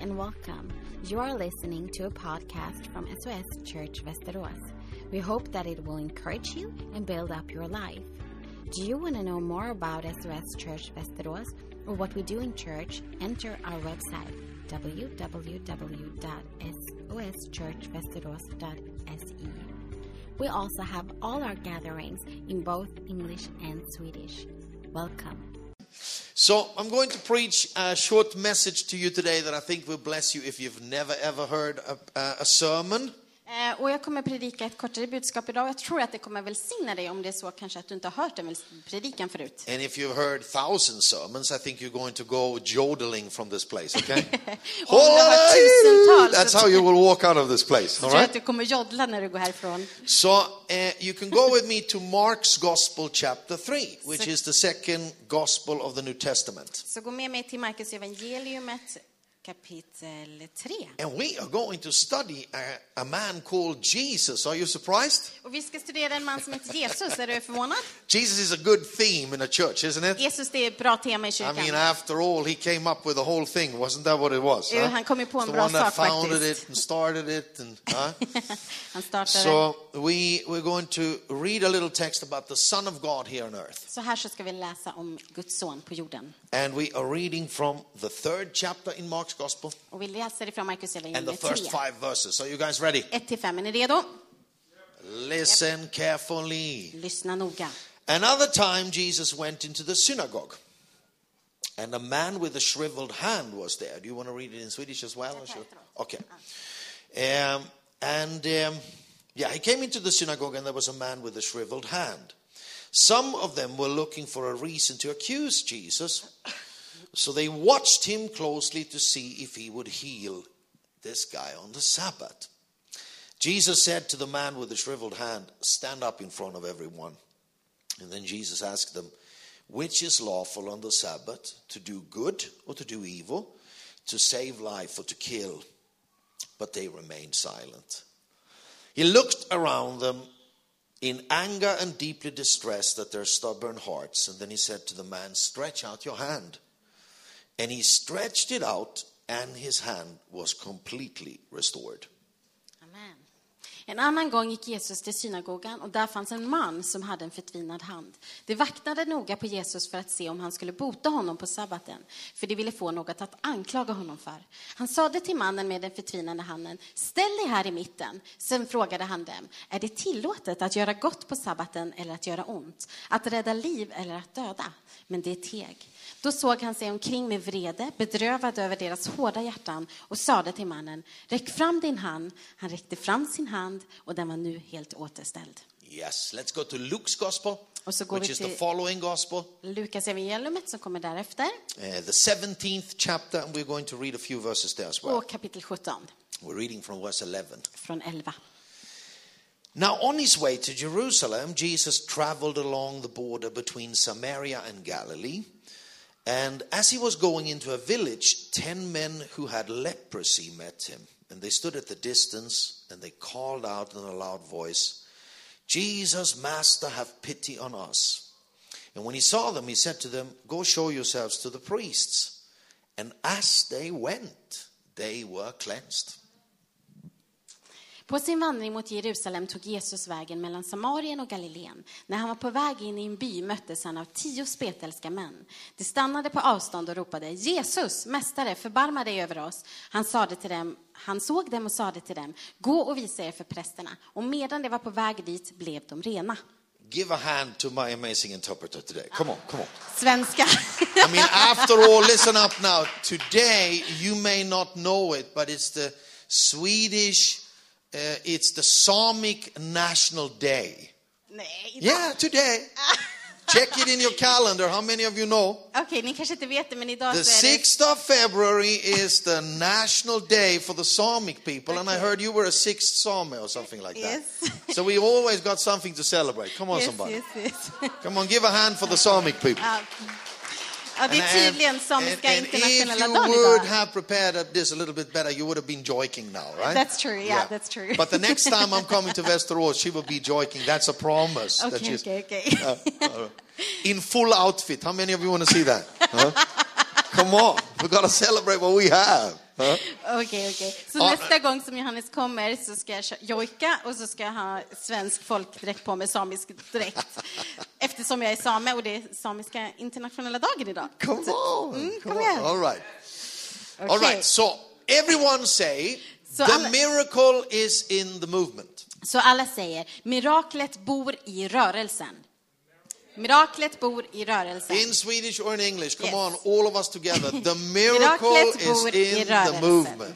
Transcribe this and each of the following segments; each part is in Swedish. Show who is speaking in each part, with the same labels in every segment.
Speaker 1: and welcome. You are listening to a podcast from SOS Church Vesteros. We hope that it will encourage you and build up your life. Do you want to know more about SOS Church Vesteros or what we do in church? Enter our website www.soschurchvesteros.se. E. We also have all our gatherings in both English and Swedish. Welcome.
Speaker 2: So, I'm going to preach a short message to you today that I think will bless you if you've never ever heard a, a- a sermon.
Speaker 3: Eh, Och jag kommer predika ett kortare budskap idag. Jag tror att det kommer välsigna dig om det är så kanske att du inte har hört den predikan förut.
Speaker 2: And if you've heard thousand sermons, I think you're going to go jodeling from this place, okay?
Speaker 3: Om du har hört tusentals
Speaker 2: That's
Speaker 3: så
Speaker 2: how
Speaker 3: tror
Speaker 2: you will walk out of this place, all
Speaker 3: jag att
Speaker 2: right?
Speaker 3: du kommer joddla när du går härifrån.
Speaker 2: So, uh, you can go with me to Mark's Gospel, chapter 3, which is the second Gospel of the New Testament.
Speaker 3: Så gå med mig till Markus evangeliumet kapitel 3.
Speaker 2: And we are going to study a, a man called Jesus. Are you surprised?
Speaker 3: Och vi ska studera en man som heter Jesus. Är du förvånad?
Speaker 2: Jesus is a good theme in a church, isn't it?
Speaker 3: Jesus, det är ett bra tema i
Speaker 2: I
Speaker 3: kyrkan.
Speaker 2: mean, after all, he came up with the whole thing. Wasn't that what it was?
Speaker 3: Jo, han kom ju på
Speaker 2: It's
Speaker 3: en
Speaker 2: the
Speaker 3: bra
Speaker 2: one that
Speaker 3: sak
Speaker 2: founded
Speaker 3: faktiskt.
Speaker 2: it and started it. And, huh?
Speaker 3: Han startade.
Speaker 2: so
Speaker 3: Så,
Speaker 2: we, we're going to read a little text about the Son of God here on earth.
Speaker 3: här så ska vi läsa om Guds son på jorden.
Speaker 2: And we are reading from the third chapter in Mark's Gospel
Speaker 3: Och vi läser ifrån Markus
Speaker 2: and the
Speaker 3: evangeliet 3.
Speaker 2: first five verses. Are you guys ready?
Speaker 3: 1 till 5. Är ni redo?
Speaker 2: Listen carefully.
Speaker 3: Lyssna noga.
Speaker 2: Another time Jesus went into the synagogue. And a man with a shriveled hand was there. Do you want to read it in Swedish as well?
Speaker 3: Jag kan
Speaker 2: Sure.
Speaker 3: efteråt.
Speaker 2: Okay. Um, and um, yeah, he came into the synagogue and there was a man with a shriveled hand. Some of them were looking for a reason to accuse Jesus, so they watched him closely to see if he would heal this guy on the Sabbath. Jesus said to the man with the shriveled hand, Stand up in front of everyone. And then Jesus asked them, Which is lawful on the Sabbath, to do good or to do evil, to save life or to kill? But they remained silent. He looked around them in anger and deeply distressed at their stubborn hearts. And then he said to the man, Stretch out your hand. And he stretched it out, and his hand was completely restored.
Speaker 3: Amen. En annan gång gick Jesus till synagogan och där fanns en man som hade en förtvinad hand. De vaktade noga på Jesus för att se om han skulle bota honom på sabbaten, för de ville få något att anklaga honom för. Han sade till mannen med den förtvinade handen, ställ dig här i mitten. Sen frågade han dem, är det tillåtet att göra gott på sabbaten eller att göra ont? Att rädda liv eller att döda? Men det teg. Då såg han sig omkring med vrede, bedrövad över deras hårda hjärtan och sade till mannen, räck fram din hand. Han räckte fram sin hand och den var nu helt återställd.
Speaker 2: Yes, let's go to Luke's gospel,
Speaker 3: Och så går
Speaker 2: which
Speaker 3: vi
Speaker 2: is the
Speaker 3: till-
Speaker 2: following gospel,
Speaker 3: Lukas evangeliumet som kommer därefter
Speaker 2: uh, the 17th chapter, and we're going to read a few verses there as well.
Speaker 3: och kapitel 17
Speaker 2: We're reading from verse 11.
Speaker 3: från 11.
Speaker 2: Now, on his way to Jerusalem, Jesus traveled along the border between Samaria and Galilee. And as he was going into a village, ten men who had leprosy met him. And they stood at the distance and they called out in a loud voice, Jesus, Master, have pity on us. And when he saw them, he said to them, Go show yourselves to the priests. And as they went, they were cleansed.
Speaker 3: På sin vandring mot Jerusalem tog Jesus vägen mellan Samarien och Galileen. När han var på väg in i en by möttes han av tio spetälska män. De stannade på avstånd och ropade Jesus, mästare, förbarma dig över oss. Han, sade till dem, han såg dem och sade till dem, gå och visa er för prästerna. Och medan de var på väg dit blev de rena.
Speaker 2: Give a hand to my amazing interpreter today. Come on, come on.
Speaker 3: Svenska.
Speaker 2: I mean, after all, listen up now. Today, you may not know it, but it's the Swedish, uh, it's the Samic National Day.
Speaker 3: Nej, idag-
Speaker 2: Yeah, today. Check it in your calendar. How many of you know?
Speaker 3: Okej, ni kanske inte vet det, men idag
Speaker 2: The
Speaker 3: så är det...
Speaker 2: 6th of February is the national day for the Samic people, and I heard you were a sixth Sami or something like that.
Speaker 3: Yes.
Speaker 2: So we always got something to celebrate. Come on,
Speaker 3: Yes,
Speaker 2: somebody.
Speaker 3: yes, yes.
Speaker 2: Come on, give a hand for the Samic people.
Speaker 3: Ja. Ja, det är tydligen samiska
Speaker 2: And
Speaker 3: internationella
Speaker 2: if
Speaker 3: dagen
Speaker 2: you would
Speaker 3: idag.
Speaker 2: have prepared up this a little bit better, you would have been joiking now, right?
Speaker 3: That's true, yeah, that's true.
Speaker 2: But the next time I'm coming to Västerås, she will be joiking. That's a promise. that
Speaker 3: Okej,
Speaker 2: she's- uh,
Speaker 3: okej, okej.
Speaker 2: In full outfit. How many of you want to see that? Huh? Come on, we got to celebrate what we have.
Speaker 3: Okej, okej. Så
Speaker 2: Ja.
Speaker 3: nästa gång som Johannes kommer så ska jag kö- jojka och så ska jag ha svensk folkdräkt på mig, samisk dräkt. Eftersom jag är same och det är samiska internationella dagen idag.
Speaker 2: Come on.
Speaker 3: Mm,
Speaker 2: come
Speaker 3: kom
Speaker 2: on.
Speaker 3: igen.
Speaker 2: All right. All
Speaker 3: Okej.
Speaker 2: right. So everyone say
Speaker 3: So
Speaker 2: the
Speaker 3: alla-
Speaker 2: miracle is in the movement.
Speaker 3: Så alla säger, miraklet bor i rörelsen. Miraklet bor i rörelsen.
Speaker 2: In Swedish or in English. Come
Speaker 3: Yes.
Speaker 2: on, all of us together. The miracle
Speaker 3: Miraklet
Speaker 2: is
Speaker 3: bor i
Speaker 2: in the
Speaker 3: rörelsen.
Speaker 2: movement.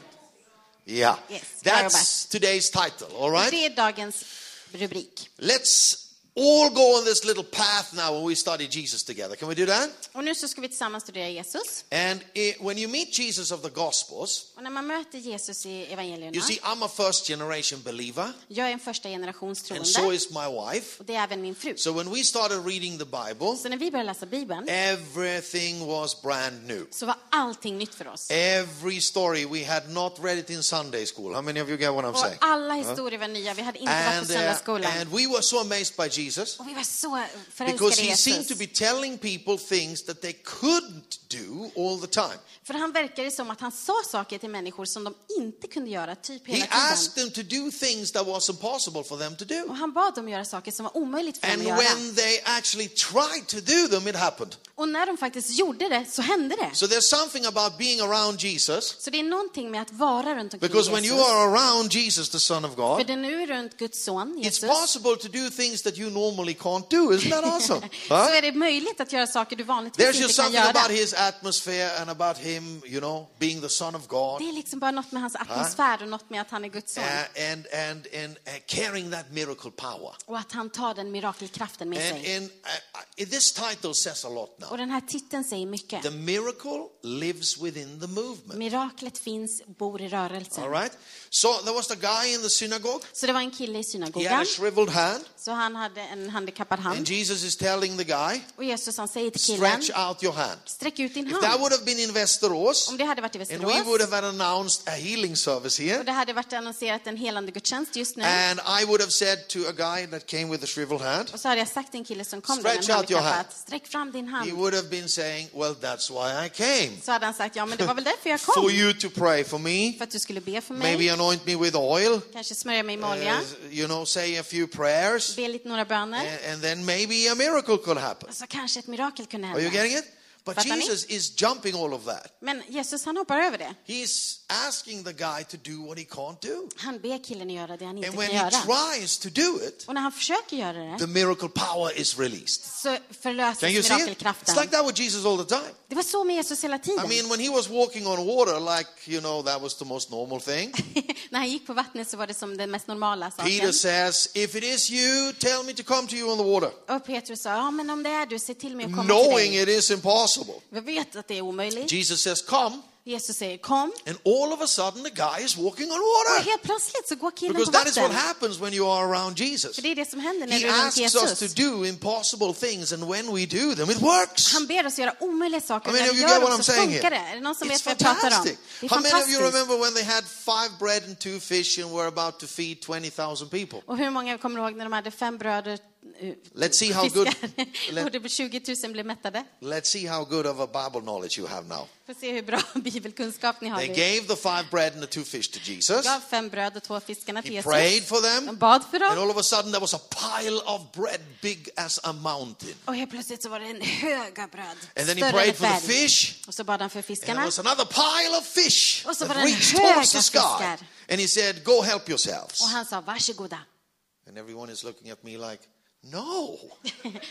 Speaker 2: Yeah.
Speaker 3: Yes,
Speaker 2: That's today's title. All right.
Speaker 3: Det är dagens rubrik.
Speaker 2: Let's all go on this little path now when we study Jesus together. Can we do that?
Speaker 3: Och nu så ska vi tillsammans studera Jesus.
Speaker 2: And it, when you meet Jesus of the Gospels,
Speaker 3: Och när man möter Jesus i evangelierna,
Speaker 2: you see, I'm a first generation believer,
Speaker 3: jag är en första generations
Speaker 2: and so
Speaker 3: troende,
Speaker 2: is my wife.
Speaker 3: och det är även min fru.
Speaker 2: So Eh. when we started reading the Bible,
Speaker 3: Så när vi började läsa Bibeln
Speaker 2: everything was brand new.
Speaker 3: så var allting nytt för oss.
Speaker 2: Every story, we had not read it in Sunday school. How many of you get what I'm
Speaker 3: Och
Speaker 2: saying?
Speaker 3: alla historier var nya, vi hade inte varit
Speaker 2: And,
Speaker 3: på
Speaker 2: uh,
Speaker 3: söndagsskolan.
Speaker 2: and we were so amazed by Jesus
Speaker 3: Och vi var så
Speaker 2: because
Speaker 3: förälskade i
Speaker 2: he seemed to be
Speaker 3: Jesus.
Speaker 2: telling people things that they couldn't do all the time.
Speaker 3: För han verkade som att han sa saker till människor som de inte kunde göra typ
Speaker 2: He
Speaker 3: hela tiden.
Speaker 2: asked them to do things that was impossible for them to do.
Speaker 3: Och han bad dem göra saker som var omöjligt för dem
Speaker 2: And
Speaker 3: att göra.
Speaker 2: when they actually tried to do them, it happened.
Speaker 3: Och när de faktiskt gjorde det så hände det.
Speaker 2: So there's something about being around Jesus
Speaker 3: Så det är någonting med att vara runt omkring
Speaker 2: because when you
Speaker 3: Jesus.
Speaker 2: are around Jesus, the Son of
Speaker 3: För
Speaker 2: God,
Speaker 3: det är nu runt Guds son,
Speaker 2: it's
Speaker 3: Jesus,
Speaker 2: possible to do things that you normally can't do. Isn't that awesome?
Speaker 3: så
Speaker 2: Huh?
Speaker 3: är det möjligt att göra saker du
Speaker 2: There's
Speaker 3: vanligtvis
Speaker 2: just
Speaker 3: inte kan
Speaker 2: something about
Speaker 3: göra.
Speaker 2: his atmosphere and about him, you know, being the Son of God
Speaker 3: Det är liksom bara något med
Speaker 2: Ah.
Speaker 3: hans atmosfär och något med att han är Guds son.
Speaker 2: uh, and and and uh, carrying that miracle power.
Speaker 3: Och att han tar den mirakelkraften med
Speaker 2: And
Speaker 3: sig.
Speaker 2: and uh, uh, this title says a lot now.
Speaker 3: Och den här titeln säger mycket.
Speaker 2: The miracle lives within the movement.
Speaker 3: Miraklet finns, bor i
Speaker 2: All
Speaker 3: rörelsen.
Speaker 2: right? So there was the guy in the synagogue.
Speaker 3: Så det var en kille
Speaker 2: He
Speaker 3: i
Speaker 2: had
Speaker 3: synagogan,
Speaker 2: a shriveled hand.
Speaker 3: så han hade en handikappad
Speaker 2: And
Speaker 3: hand.
Speaker 2: Jesus is telling the guy,
Speaker 3: Och Jesus han säger till killen,
Speaker 2: stretch out your hand.
Speaker 3: sträck ut din
Speaker 2: If that
Speaker 3: hand.
Speaker 2: would have been in Västerås,
Speaker 3: Om det hade varit i
Speaker 2: and we
Speaker 3: Västerås,
Speaker 2: would have had announced a healing service
Speaker 3: och
Speaker 2: here,
Speaker 3: det hade varit annonserat en helande gudstjänst just nu,
Speaker 2: and I would have said to a guy that came with a shriveled hand,
Speaker 3: och så hade jag sagt till en kille som kom där
Speaker 2: Stretch
Speaker 3: med en
Speaker 2: out your
Speaker 3: handikappad,
Speaker 2: hand.
Speaker 3: sträck fram din
Speaker 2: he
Speaker 3: hand.
Speaker 2: would have been saying, well, that's why I came.
Speaker 3: Så hade han sagt, ja men det var väl därför jag
Speaker 2: For
Speaker 3: kom.
Speaker 2: you to pray for me,
Speaker 3: För att du skulle be för
Speaker 2: maybe
Speaker 3: mig,
Speaker 2: anoint me with oil,
Speaker 3: kanske smörja mig med
Speaker 2: uh,
Speaker 3: olja,
Speaker 2: you know, say a few prayers,
Speaker 3: be lite några böner.
Speaker 2: and, and then maybe a miracle could happen.
Speaker 3: Så kanske ett mirakel kunde
Speaker 2: Are you
Speaker 3: hända.
Speaker 2: getting it? But
Speaker 3: Fattar ni?
Speaker 2: Jesus is jumping all of that.
Speaker 3: Men Jesus han hoppar över det.
Speaker 2: He's asking the guy to do what he can't do.
Speaker 3: Han ber killen att göra det han inte
Speaker 2: And when
Speaker 3: kan
Speaker 2: he
Speaker 3: göra.
Speaker 2: tries to do it,
Speaker 3: Och när han försöker göra det
Speaker 2: the miracle power is released.
Speaker 3: så
Speaker 2: Can you
Speaker 3: förlöses
Speaker 2: see it? It's like
Speaker 3: mirakelkraften.
Speaker 2: that with Jesus all the time.
Speaker 3: Det var så med Jesus hela
Speaker 2: I
Speaker 3: tiden.
Speaker 2: mean, when he was walking on water, like, you know, that was the most normal thing.
Speaker 3: När han gick på vattnet så var det som den mest normala
Speaker 2: Peter
Speaker 3: saken.
Speaker 2: says, If it is you, tell me to come to you on the water,
Speaker 3: Och Petrus sa, ja men om det är du, se till mig att komma till
Speaker 2: knowing
Speaker 3: dig.
Speaker 2: it is impossible.
Speaker 3: Vi vet att det är omöjligt.
Speaker 2: Jesus says, Come,
Speaker 3: Jesus säger kom.
Speaker 2: and all of a sudden the guy is walking on
Speaker 3: Och
Speaker 2: water.
Speaker 3: helt plötsligt så går killen
Speaker 2: Because
Speaker 3: på
Speaker 2: that is what
Speaker 3: vatten.
Speaker 2: happens when you are around Jesus.
Speaker 3: För det är det som händer när
Speaker 2: He
Speaker 3: du är runt
Speaker 2: asks us to
Speaker 3: Jesus.
Speaker 2: do impossible things, and when we do them, it works.
Speaker 3: Han ber oss göra omöjliga saker.
Speaker 2: How
Speaker 3: och
Speaker 2: many
Speaker 3: När
Speaker 2: of
Speaker 3: vi
Speaker 2: you get
Speaker 3: gör
Speaker 2: what
Speaker 3: dem
Speaker 2: I'm
Speaker 3: så
Speaker 2: saying here?
Speaker 3: funkar det. Är det någon som
Speaker 2: It's
Speaker 3: vet vad jag pratar om?
Speaker 2: fantastic.
Speaker 3: Det är
Speaker 2: How many of you
Speaker 3: fantastiskt.
Speaker 2: remember when they had five bread and two fish and were about to feed 20,000 people?
Speaker 3: Och hur många kommer ihåg när de hade fem bröder, eh,
Speaker 2: Let's see how good.
Speaker 3: fiskar, och
Speaker 2: Let,
Speaker 3: det blev 20 000 blev mättade?
Speaker 2: let's see how good of a Bible knowledge you have now.
Speaker 3: Får se hur bra bibelkunskap ni har.
Speaker 2: They
Speaker 3: nu.
Speaker 2: gave the five bread and the two fish to Jesus.
Speaker 3: gav fem bröd och två fiskarna till
Speaker 2: He
Speaker 3: Jesus.
Speaker 2: prayed for
Speaker 3: De
Speaker 2: them,
Speaker 3: bad för
Speaker 2: and
Speaker 3: dem.
Speaker 2: all of a sudden there was a pile of bread big as a mountain.
Speaker 3: Och helt plötsligt så var det en hög av bröd.
Speaker 2: And then he
Speaker 3: större än
Speaker 2: prayed
Speaker 3: ett
Speaker 2: for the
Speaker 3: berg.
Speaker 2: fish,
Speaker 3: Och så bad han för
Speaker 2: and there
Speaker 3: fiskarna.
Speaker 2: was another pile of fish
Speaker 3: Och så var
Speaker 2: that
Speaker 3: det en
Speaker 2: reached
Speaker 3: hög
Speaker 2: towards the
Speaker 3: av
Speaker 2: sky.
Speaker 3: fiskar.
Speaker 2: And he said, Go help
Speaker 3: Och
Speaker 2: yourselves.
Speaker 3: han sa, varsågoda.
Speaker 2: And everyone is looking at me like, No,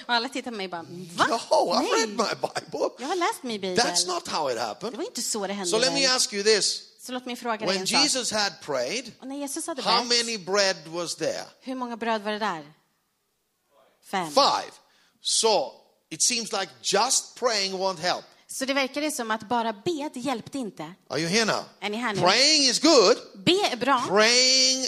Speaker 3: Och alla tittade på mig och bara, va?
Speaker 2: no, I've
Speaker 3: Nej.
Speaker 2: read my Bible.
Speaker 3: Jag har läst min bibel.
Speaker 2: That's not how it
Speaker 3: Det
Speaker 2: happened.
Speaker 3: var inte så det hände.
Speaker 2: So let me
Speaker 3: väl?
Speaker 2: ask you this.
Speaker 3: Så låt mig fråga dig
Speaker 2: When
Speaker 3: en sak.
Speaker 2: Jesus had prayed,
Speaker 3: Och när Jesus hade
Speaker 2: how
Speaker 3: bett,
Speaker 2: many bread was there?
Speaker 3: hur många bröd var det där? Fem.
Speaker 2: Five. So it seems like just praying won't help.
Speaker 3: Så det verkade som att bara be, det hjälpte inte.
Speaker 2: Are you here now?
Speaker 3: Är ni här nu?
Speaker 2: Praying is good.
Speaker 3: Be är bra,
Speaker 2: Praying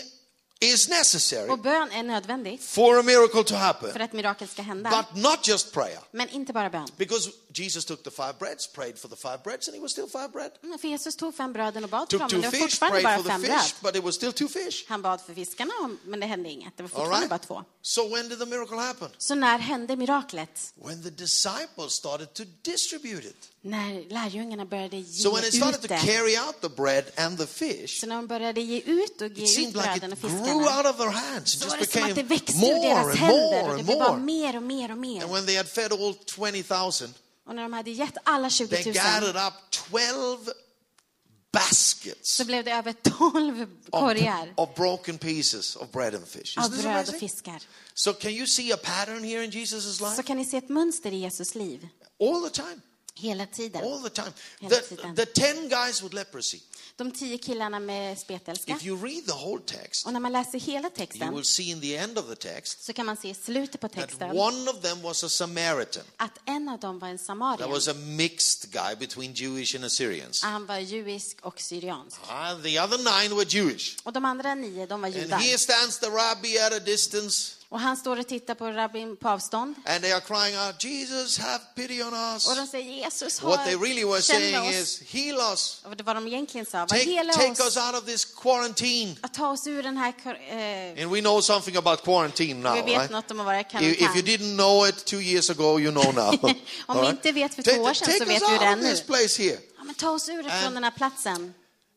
Speaker 2: is necessary
Speaker 3: Och bön är nödvändig
Speaker 2: for a miracle to
Speaker 3: för
Speaker 2: happen,
Speaker 3: att mirakel ska hända.
Speaker 2: but not just prayer.
Speaker 3: Men inte bara bön.
Speaker 2: Because Jesus took the five breads, prayed for the five breads, and he was still five bread.
Speaker 3: Mm, För Jesus tog fem bröden och bad för
Speaker 2: Took
Speaker 3: dem,
Speaker 2: two
Speaker 3: men det var
Speaker 2: fish,
Speaker 3: fortfarande
Speaker 2: prayed
Speaker 3: bara
Speaker 2: for the
Speaker 3: fem bröd.
Speaker 2: fish, but it was still two fish.
Speaker 3: Han bad för fiskarna, men det hände inget. Det var
Speaker 2: All
Speaker 3: fortfarande
Speaker 2: right?
Speaker 3: bara två.
Speaker 2: So when did the miracle happen?
Speaker 3: Så när hände miraklet?
Speaker 2: When the disciples started to distribute it.
Speaker 3: När lärjungarna började ge
Speaker 2: So when they started
Speaker 3: ut
Speaker 2: to
Speaker 3: det.
Speaker 2: carry out the bread and the fish,
Speaker 3: Mm, Så när de började ge ut och
Speaker 2: it
Speaker 3: ge ut
Speaker 2: seemed like
Speaker 3: bröden
Speaker 2: it
Speaker 3: och
Speaker 2: grew
Speaker 3: fiskarna
Speaker 2: out of their hands. It
Speaker 3: så var
Speaker 2: just
Speaker 3: det som att det
Speaker 2: became
Speaker 3: växte ur
Speaker 2: more
Speaker 3: deras
Speaker 2: and
Speaker 3: händer
Speaker 2: more
Speaker 3: och det
Speaker 2: and
Speaker 3: blev bara
Speaker 2: more.
Speaker 3: mer och mer och
Speaker 2: And
Speaker 3: mer.
Speaker 2: when they had fed all 20,000,
Speaker 3: Och när de hade gett alla
Speaker 2: they
Speaker 3: 20 000
Speaker 2: gathered up 12
Speaker 3: så
Speaker 2: baskets
Speaker 3: blev det över 12
Speaker 2: of,
Speaker 3: korgar
Speaker 2: of broken pieces of bread and fish.
Speaker 3: av
Speaker 2: Isn't this
Speaker 3: bröd och
Speaker 2: amazing?
Speaker 3: fiskar.
Speaker 2: So can you see a pattern here in Jesus'
Speaker 3: Så
Speaker 2: life?
Speaker 3: kan ni se ett mönster i Jesus liv
Speaker 2: All the time.
Speaker 3: hela tiden.
Speaker 2: All the time.
Speaker 3: Hela
Speaker 2: The,
Speaker 3: tiden.
Speaker 2: the 10 guys with leprosy,
Speaker 3: De tio killarna med spetälska.
Speaker 2: if you read the whole text,
Speaker 3: Och när man läser hela
Speaker 2: you
Speaker 3: texten
Speaker 2: will see in the end of the text
Speaker 3: så kan man se i slutet på
Speaker 2: that
Speaker 3: texten
Speaker 2: one of them was a Samaritan.
Speaker 3: att en av dem var en
Speaker 2: That
Speaker 3: samarier.
Speaker 2: was a mixed guy between Jewish and Assyrians.
Speaker 3: Ah, Han var judisk och syriansk.
Speaker 2: Ah, the other nine were Jewish.
Speaker 3: Och de andra nio, de var
Speaker 2: And
Speaker 3: judar.
Speaker 2: here stands the rabbi at a distance,
Speaker 3: Och han står och tittar på rabbin på avstånd.
Speaker 2: and they are crying out, Jesus, have pity on
Speaker 3: Och de
Speaker 2: us.
Speaker 3: säger Jesus har
Speaker 2: What they really were
Speaker 3: känn
Speaker 2: saying
Speaker 3: oss.
Speaker 2: is, heal us,
Speaker 3: Och det var de egentligen sa, var
Speaker 2: take,
Speaker 3: hela
Speaker 2: take
Speaker 3: oss.
Speaker 2: us out of this quarantine.
Speaker 3: Att ta oss ur den här... kor- Eh,
Speaker 2: And we know something about quarantine now,
Speaker 3: vi
Speaker 2: right?
Speaker 3: vet något om att vara i
Speaker 2: If if you
Speaker 3: karantän.
Speaker 2: didn't know it two years ago, you know now.
Speaker 3: Om
Speaker 2: All
Speaker 3: vi
Speaker 2: right?
Speaker 3: inte vet för två
Speaker 2: Take,
Speaker 3: år sedan så
Speaker 2: take us
Speaker 3: vet vi det
Speaker 2: out of
Speaker 3: ännu.
Speaker 2: this place here.
Speaker 3: Ja, men ta oss ur från
Speaker 2: And-
Speaker 3: den här platsen.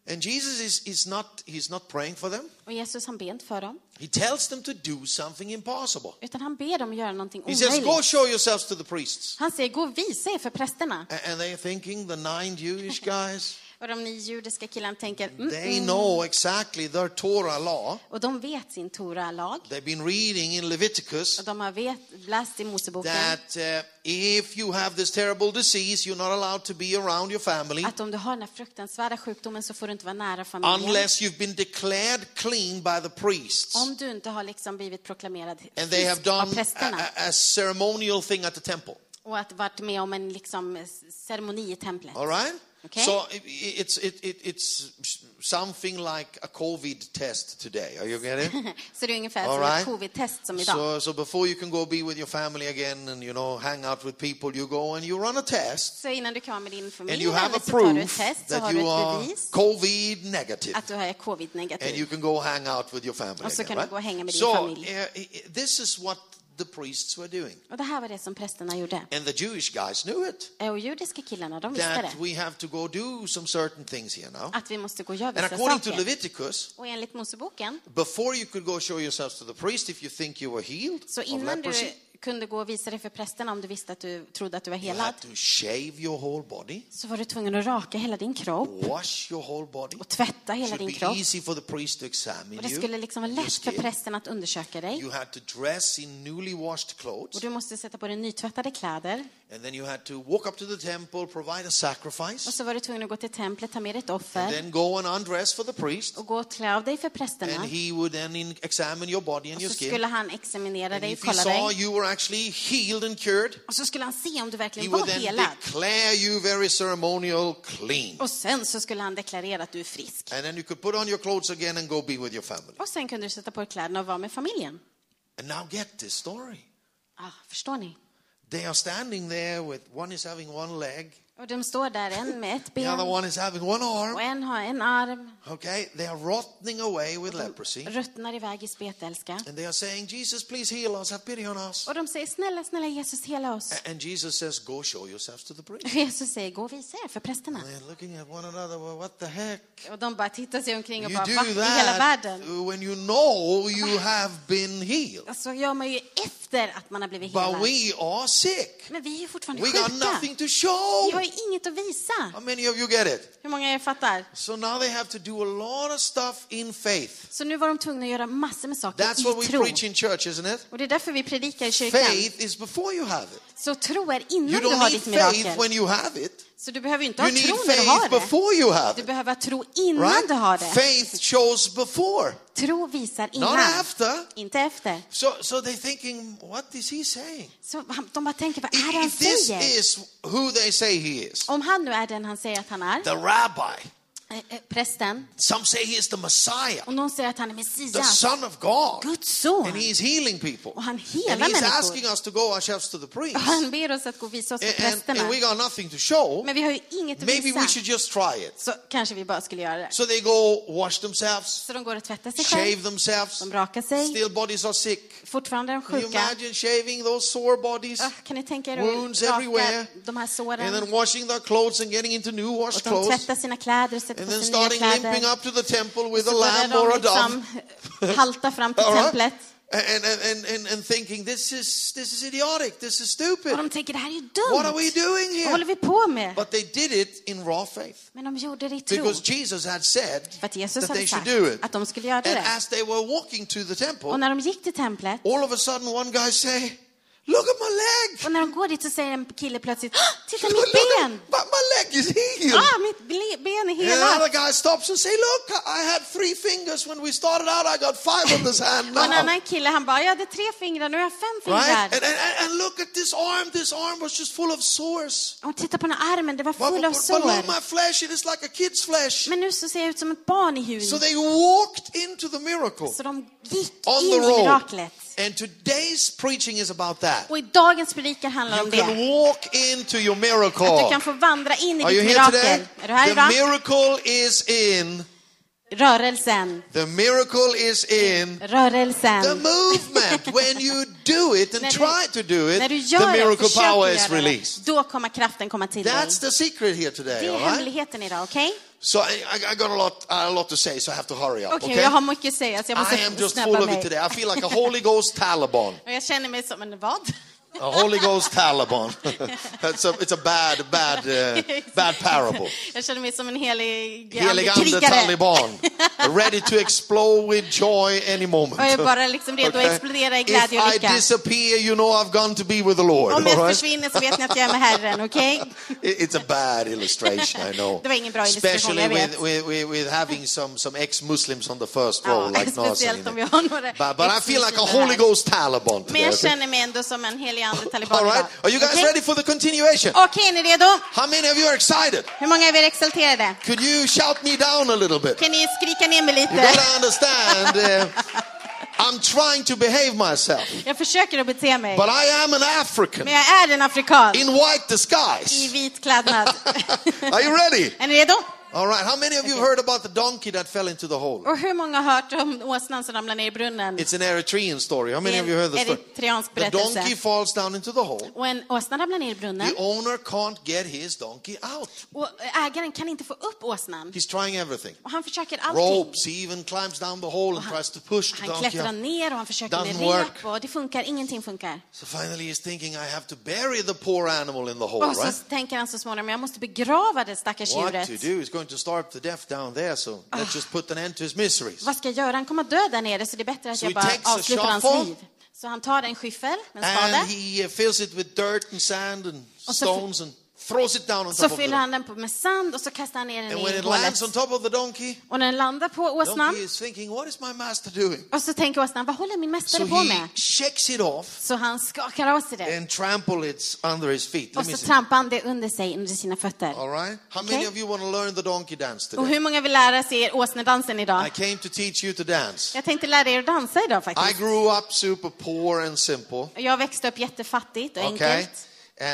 Speaker 2: And Jesus is, is not, he's not praying for them.
Speaker 3: Och Jesus han ber inte för dem,
Speaker 2: He tells them to do something impossible.
Speaker 3: utan han ber dem göra någonting
Speaker 2: He says, go
Speaker 3: omöjligt.
Speaker 2: show yourselves to the priests.
Speaker 3: Han säger, gå och visa er för prästerna.
Speaker 2: A- And they're thinking, the nine Jewish guys,
Speaker 3: Och de nio judiska killarna tänker, mm,
Speaker 2: they
Speaker 3: mm.
Speaker 2: know exactly their Torah law.
Speaker 3: och de vet sin Torah-lag.
Speaker 2: They've been reading in
Speaker 3: Och
Speaker 2: Leviticus
Speaker 3: de har vet, läst i Moseboken
Speaker 2: that uh, if you have this terrible disease, you're not allowed to be around your family
Speaker 3: att om du har den här fruktansvärda sjukdomen så får du inte vara nära familjen.
Speaker 2: unless you've been declared clean by the priests.
Speaker 3: Om du inte har liksom blivit proklamerad
Speaker 2: And they have
Speaker 3: frisk av
Speaker 2: done uh, a,
Speaker 3: prästerna
Speaker 2: a- a ceremonial thing at the temple.
Speaker 3: och att varit med om en liksom ceremoni i templet.
Speaker 2: All right?
Speaker 3: Okay.
Speaker 2: So i- i- it's, it, it, it's something like a COVID test today. Are you getting it?
Speaker 3: Så det är ungefär
Speaker 2: All
Speaker 3: som
Speaker 2: right.
Speaker 3: ett covid-test som
Speaker 2: so,
Speaker 3: idag.
Speaker 2: so before you can go be with your family again and, you know, hang out with people, you go and you run a test.
Speaker 3: Så innan du kan vara med din
Speaker 2: And
Speaker 3: familj
Speaker 2: you have
Speaker 3: eller
Speaker 2: a
Speaker 3: så tar du
Speaker 2: proof
Speaker 3: ett test så
Speaker 2: that
Speaker 3: har du
Speaker 2: you are
Speaker 3: ett bevis
Speaker 2: COVID negative.
Speaker 3: att du är
Speaker 2: And you
Speaker 3: covid-negativ.
Speaker 2: can go hang out with your family
Speaker 3: Och så
Speaker 2: again,
Speaker 3: kan du
Speaker 2: right?
Speaker 3: gå och hänga med din
Speaker 2: so
Speaker 3: familj.
Speaker 2: uh, i- i- this is what the priests were doing.
Speaker 3: Och det här var det som prästerna gjorde.
Speaker 2: And the Jewish guys knew it.
Speaker 3: Och judiska killarna, de visste
Speaker 2: That
Speaker 3: det.
Speaker 2: we have to go do some certain things here now.
Speaker 3: Att vi måste gå och göra
Speaker 2: And
Speaker 3: vissa
Speaker 2: according to
Speaker 3: saker.
Speaker 2: Leviticus,
Speaker 3: Och enligt Moseboken,
Speaker 2: Before you could go show yourselves to the priest if you think you were healed
Speaker 3: så
Speaker 2: of
Speaker 3: innan du
Speaker 2: leprosy,
Speaker 3: kunde gå och visa dig för prästerna om du visste att du trodde att du var
Speaker 2: you
Speaker 3: helad,
Speaker 2: had to shave your whole body,
Speaker 3: så var du tvungen att raka hela din kropp
Speaker 2: wash your whole body.
Speaker 3: och tvätta
Speaker 2: It
Speaker 3: hela
Speaker 2: should
Speaker 3: din
Speaker 2: be
Speaker 3: kropp.
Speaker 2: easy for the priest to examine
Speaker 3: Och det skulle
Speaker 2: you.
Speaker 3: liksom vara
Speaker 2: your
Speaker 3: lätt för
Speaker 2: skin.
Speaker 3: prästen att undersöka dig.
Speaker 2: You had to dress in newly washed
Speaker 3: Och
Speaker 2: clothes,
Speaker 3: du måste sätta på dig nytvättade kläder.
Speaker 2: and then you had to walk up to the temple, provide a
Speaker 3: Och
Speaker 2: sacrifice,
Speaker 3: så var du tvungen att gå till templet, ta med dig ett
Speaker 2: and
Speaker 3: offer
Speaker 2: then go and undress for the priest,
Speaker 3: och gå och klä av dig för
Speaker 2: and
Speaker 3: prästerna.
Speaker 2: he would then in- examine your body and
Speaker 3: Och
Speaker 2: your
Speaker 3: så
Speaker 2: skin.
Speaker 3: skulle han examinera
Speaker 2: And
Speaker 3: dig,
Speaker 2: if he
Speaker 3: kolla
Speaker 2: saw
Speaker 3: dig.
Speaker 2: you were actually healed and cured,
Speaker 3: Och så skulle han se om
Speaker 2: he
Speaker 3: du verkligen var
Speaker 2: would then
Speaker 3: helad.
Speaker 2: declare you very ceremonial clean.
Speaker 3: Och sen så skulle han deklarera att du är frisk.
Speaker 2: And then you could put on your clothes again and go be with your family.
Speaker 3: Och sen kunde du sätta på dig kläderna och vara med familjen.
Speaker 2: And now get this story.
Speaker 3: Ah, förstår ni?
Speaker 2: They are standing there with one is having one leg,
Speaker 3: Och de står där, en med ett
Speaker 2: the other
Speaker 3: ben
Speaker 2: one is having one arm.
Speaker 3: och en har en arm,
Speaker 2: Okay, they are rotting away with leprosy.
Speaker 3: ruttnar iväg i spetälska.
Speaker 2: And they are saying, Jesus, please heal us, have pity on us.
Speaker 3: Och de säger, snälla, snälla Jesus, hela oss.
Speaker 2: A- And Jesus says, Go show yourselves to the priest.
Speaker 3: Och Jesus säger, gå och visa er för prästerna.
Speaker 2: And they're looking at one another, well, what the heck?
Speaker 3: Och de bara tittar sig omkring
Speaker 2: You
Speaker 3: och bara, va?
Speaker 2: do
Speaker 3: I hela
Speaker 2: that uh,
Speaker 3: världen?
Speaker 2: when you know you have been healed.
Speaker 3: Alltså gör man ju efter att man har blivit
Speaker 2: But
Speaker 3: helad.
Speaker 2: we are sick.
Speaker 3: Men vi är ju fortfarande
Speaker 2: We got
Speaker 3: sjuka.
Speaker 2: nothing to
Speaker 3: Vi
Speaker 2: show.
Speaker 3: har ju inget att visa.
Speaker 2: How many of you get it?
Speaker 3: Hur många av er fattar?
Speaker 2: So now they have to do a lot of stuff in faith.
Speaker 3: Så nu var de tvungna att göra massor med saker
Speaker 2: That's what
Speaker 3: i
Speaker 2: we
Speaker 3: tro.
Speaker 2: preach in church, isn't it?
Speaker 3: Och det är därför vi predikar i kyrkan.
Speaker 2: Faith is before you have it.
Speaker 3: Så tro är innan
Speaker 2: You
Speaker 3: du
Speaker 2: don't
Speaker 3: har
Speaker 2: need
Speaker 3: ditt
Speaker 2: faith
Speaker 3: mirakel.
Speaker 2: when you have it.
Speaker 3: Så du behöver ju inte ha
Speaker 2: You need
Speaker 3: tro när du har
Speaker 2: faith
Speaker 3: det.
Speaker 2: before you have
Speaker 3: Du
Speaker 2: it.
Speaker 3: behöver ha tro innan du har
Speaker 2: Right?
Speaker 3: det.
Speaker 2: Faith shows before,
Speaker 3: Tro visar innan,
Speaker 2: not after.
Speaker 3: inte efter.
Speaker 2: So, so they're thinking, what is he saying?
Speaker 3: Så han- de bara tänker, vad är det han
Speaker 2: If, if this
Speaker 3: säger?
Speaker 2: is who they say he is,
Speaker 3: Oh. Om han nu är den han säger att han är,
Speaker 2: the rabbi,
Speaker 3: eh, eh, prästen.
Speaker 2: Some say he is the Messiah,
Speaker 3: Och någon säger att han är
Speaker 2: the
Speaker 3: Messias,
Speaker 2: Son of God.
Speaker 3: Guds son.
Speaker 2: And he's healing people.
Speaker 3: Och han helar
Speaker 2: And he's
Speaker 3: människor.
Speaker 2: asking us to go ourselves to the priest.
Speaker 3: Och han ber oss att gå och visa oss för
Speaker 2: And, and,
Speaker 3: prästerna.
Speaker 2: and we got nothing to show.
Speaker 3: Men vi har ju inget att
Speaker 2: Maybe we
Speaker 3: visa.
Speaker 2: should just try it.
Speaker 3: Så kanske vi bara skulle göra det.
Speaker 2: So they go wash themselves,
Speaker 3: Så de går och tvättar sig
Speaker 2: shave
Speaker 3: själva,
Speaker 2: themselves.
Speaker 3: de rakar sig,
Speaker 2: Still bodies are sick.
Speaker 3: fortfarande är de
Speaker 2: Can you
Speaker 3: sjuka.
Speaker 2: imagine shaving those sore bodies?
Speaker 3: Ah, Kan ni tänka er
Speaker 2: Wounds
Speaker 3: att raka
Speaker 2: everywhere.
Speaker 3: de här
Speaker 2: And
Speaker 3: såren?
Speaker 2: then washing their clothes and getting into new washed
Speaker 3: Och de
Speaker 2: clothes.
Speaker 3: tvättar sina kläder och sätter
Speaker 2: And
Speaker 3: på
Speaker 2: then
Speaker 3: sig nya
Speaker 2: starting limping
Speaker 3: kläder.
Speaker 2: up to the temple
Speaker 3: Och
Speaker 2: with a
Speaker 3: så börjar
Speaker 2: lamb or a
Speaker 3: de
Speaker 2: dove.
Speaker 3: liksom halta fram till
Speaker 2: All right?
Speaker 3: templet.
Speaker 2: And, and, and, and, and thinking, this is, this is idiotic, this is stupid.
Speaker 3: Och de tänker, det här är ju
Speaker 2: What are we
Speaker 3: dumt.
Speaker 2: doing
Speaker 3: Vad håller
Speaker 2: here?
Speaker 3: vi på med?
Speaker 2: But they did it in raw faith.
Speaker 3: Men de gjorde det i tro.
Speaker 2: Because Jesus had said
Speaker 3: För att Jesus
Speaker 2: that they
Speaker 3: hade
Speaker 2: should
Speaker 3: sagt
Speaker 2: do it.
Speaker 3: att de skulle göra
Speaker 2: And
Speaker 3: det.
Speaker 2: as they were walking to the
Speaker 3: Och
Speaker 2: temple,
Speaker 3: när de gick till templet,
Speaker 2: all of a sudden one guy say, look at my leg!
Speaker 3: och när de går dit så säger en kille plötsligt, "Ah, titta
Speaker 2: Look,
Speaker 3: mitt
Speaker 2: look at-
Speaker 3: ben!
Speaker 2: but my leg is healed!
Speaker 3: Ah, mitt ble- ben är
Speaker 2: And another
Speaker 3: helat!
Speaker 2: guy stops and say, "Look, I had three fingers when we started out. I got five on this hand
Speaker 3: Och en
Speaker 2: now, right?
Speaker 3: annan kille, han bara, jag hade tre fingrar, nu har jag fem
Speaker 2: And,
Speaker 3: fingrar.
Speaker 2: and, and, and look at this arm. This arm was just full of sores.
Speaker 3: Och titta på den här armen, det var
Speaker 2: But,
Speaker 3: full av
Speaker 2: but, but look,
Speaker 3: sår.
Speaker 2: my flesh. It is like a kid's flesh."
Speaker 3: Men nu så ser jag ut som ett barn i
Speaker 2: So
Speaker 3: huden.
Speaker 2: they walked into the miracle
Speaker 3: Så de gick
Speaker 2: on
Speaker 3: in
Speaker 2: the
Speaker 3: i
Speaker 2: road.
Speaker 3: miraklet.
Speaker 2: And today's preaching is about that.
Speaker 3: Och i dagens predikan handlar
Speaker 2: You
Speaker 3: om det.
Speaker 2: can walk into your
Speaker 3: Att du
Speaker 2: miracle.
Speaker 3: kan få vandra in i
Speaker 2: Are you
Speaker 3: ditt
Speaker 2: here today?
Speaker 3: mirakel. Är du här
Speaker 2: The
Speaker 3: idag?
Speaker 2: miracle is in.
Speaker 3: Rörelsen.
Speaker 2: The miracle is in. The
Speaker 3: Rörelsen.
Speaker 2: movement, when you do it and
Speaker 3: När du-
Speaker 2: try to do it,
Speaker 3: När du
Speaker 2: the
Speaker 3: gör det och
Speaker 2: miracle power
Speaker 3: försöker
Speaker 2: is
Speaker 3: göra det,
Speaker 2: released.
Speaker 3: då kommer kraften komma till dig.
Speaker 2: That's the secret here
Speaker 3: Det
Speaker 2: today,
Speaker 3: är
Speaker 2: all right?
Speaker 3: hemligheten idag, okej?
Speaker 2: So I, I- I got a lot, a lot to say, so I have to hurry up,
Speaker 3: Okej,
Speaker 2: okay?
Speaker 3: jag har mycket att säga så jag
Speaker 2: I am
Speaker 3: måste
Speaker 2: just full
Speaker 3: snabba
Speaker 2: of it
Speaker 3: mig.
Speaker 2: today. I feel like a Holy Ghost Taliban.
Speaker 3: Och jag känner mig som en vad?
Speaker 2: A Holy Ghost Taliban. That's a, it's a bad, bad, uh, bad parable.
Speaker 3: Jag känner mig som en helig andlig
Speaker 2: Heligande
Speaker 3: krigare.
Speaker 2: Taliban, ready to explode with joy any moment.
Speaker 3: Och jag är bara liksom redo att
Speaker 2: Okay?
Speaker 3: explodera i
Speaker 2: If
Speaker 3: glädje och
Speaker 2: I
Speaker 3: lycka.
Speaker 2: disappear, you know I've gone to be with the Lord.
Speaker 3: Om
Speaker 2: all
Speaker 3: jag
Speaker 2: right?
Speaker 3: försvinner så vet ni att jag är med Herren, okej?
Speaker 2: It- It's a bad illustration, I know.
Speaker 3: Det var ingen bra illustration,
Speaker 2: Especially
Speaker 3: jag
Speaker 2: with,
Speaker 3: vet.
Speaker 2: with, with, with having some, some ex-Muslims on the first row,
Speaker 3: Ja,
Speaker 2: like Nasser.
Speaker 3: speciellt om vi har några
Speaker 2: But, but I feel like a
Speaker 3: ex-muslimer
Speaker 2: Holy
Speaker 3: här.
Speaker 2: Ghost Taliban
Speaker 3: Men
Speaker 2: today.
Speaker 3: jag känner mig ändå som en helig ande taliban
Speaker 2: All right,
Speaker 3: idag.
Speaker 2: are you guys
Speaker 3: Okej? Oh.
Speaker 2: ready for the continuation?
Speaker 3: Okej, är ni redo?
Speaker 2: How many of you are excited?
Speaker 3: Hur många av er är exalterade?
Speaker 2: Could you shout me down a little bit?
Speaker 3: Kan ni skrika ner mig
Speaker 2: You
Speaker 3: lite?
Speaker 2: gotta understand, uh, I'm trying to behave myself,
Speaker 3: Jag försöker att bete mig,
Speaker 2: but I am an African
Speaker 3: men jag är en afrikan
Speaker 2: in white
Speaker 3: i
Speaker 2: disguise.
Speaker 3: vit klädnad.
Speaker 2: Are you ready?
Speaker 3: Är ni redo?
Speaker 2: All right, how many of you heard about the donkey that fell into the hole?
Speaker 3: Och hur många har hört om åsnan som ramlar ner i brunnen?
Speaker 2: It's an Eritrean story. How
Speaker 3: Det
Speaker 2: many
Speaker 3: är
Speaker 2: of you heard
Speaker 3: en
Speaker 2: the story?
Speaker 3: eritreansk
Speaker 2: The donkey
Speaker 3: berättelse.
Speaker 2: falls down into the hole.
Speaker 3: Och en åsna ramlar ner i brunnen
Speaker 2: The owner can't get his donkey out.
Speaker 3: och ägaren kan inte få upp åsnan.
Speaker 2: He's trying everything.
Speaker 3: Och han försöker allting.
Speaker 2: Ropes. He even climbs down the hole and tries to push the
Speaker 3: Han
Speaker 2: donkey
Speaker 3: klättrar
Speaker 2: out.
Speaker 3: ner och han försöker med
Speaker 2: Doesn't work.
Speaker 3: rep och det funkar, ingenting funkar.
Speaker 2: So finally he's thinking, I have to bury the poor animal in the hole,
Speaker 3: Och så
Speaker 2: right?
Speaker 3: tänker han så småningom, jag måste begrava det stackars
Speaker 2: What to
Speaker 3: djuret.
Speaker 2: do? He's going to starve to death down there, so let's just put an end to his miseries.
Speaker 3: Vad ska jag göra? Han kommer att dö där nere så det är bättre att
Speaker 2: So
Speaker 3: jag
Speaker 2: he
Speaker 3: bara
Speaker 2: takes a
Speaker 3: avslutar hans
Speaker 2: shovel.
Speaker 3: liv. Så han tar en skyffel, en spade,
Speaker 2: And he uh, fills it with dirt and sand and
Speaker 3: så fy-
Speaker 2: stones and throws it down on
Speaker 3: så
Speaker 2: top of the
Speaker 3: fyller
Speaker 2: donkey.
Speaker 3: han den på- med sand och så kastar han ner den
Speaker 2: And when
Speaker 3: i
Speaker 2: it lands on
Speaker 3: hålet.
Speaker 2: top of the donkey,
Speaker 3: Och när den landar på åsnan,
Speaker 2: donkey is thinking, what is my master doing?
Speaker 3: och så tänker åsnan, vad håller min
Speaker 2: So
Speaker 3: mästare på
Speaker 2: he
Speaker 3: med?
Speaker 2: shakes it off
Speaker 3: Så han skakar av sig det.
Speaker 2: and trample it under his feet.
Speaker 3: Och
Speaker 2: Let me
Speaker 3: så
Speaker 2: see.
Speaker 3: trampar han det under sig, under sina fötter.
Speaker 2: All right. How many
Speaker 3: Okay.
Speaker 2: of you want to learn the donkey dance
Speaker 3: Och
Speaker 2: today?
Speaker 3: hur många vill lära sig er åsnedansen
Speaker 2: I
Speaker 3: idag?
Speaker 2: came to teach you to dance.
Speaker 3: Jag tänkte lära er att dansa idag
Speaker 2: I
Speaker 3: faktiskt.
Speaker 2: grew up super poor and simple.
Speaker 3: Jag växte upp jättefattigt och
Speaker 2: Okay.
Speaker 3: enkelt.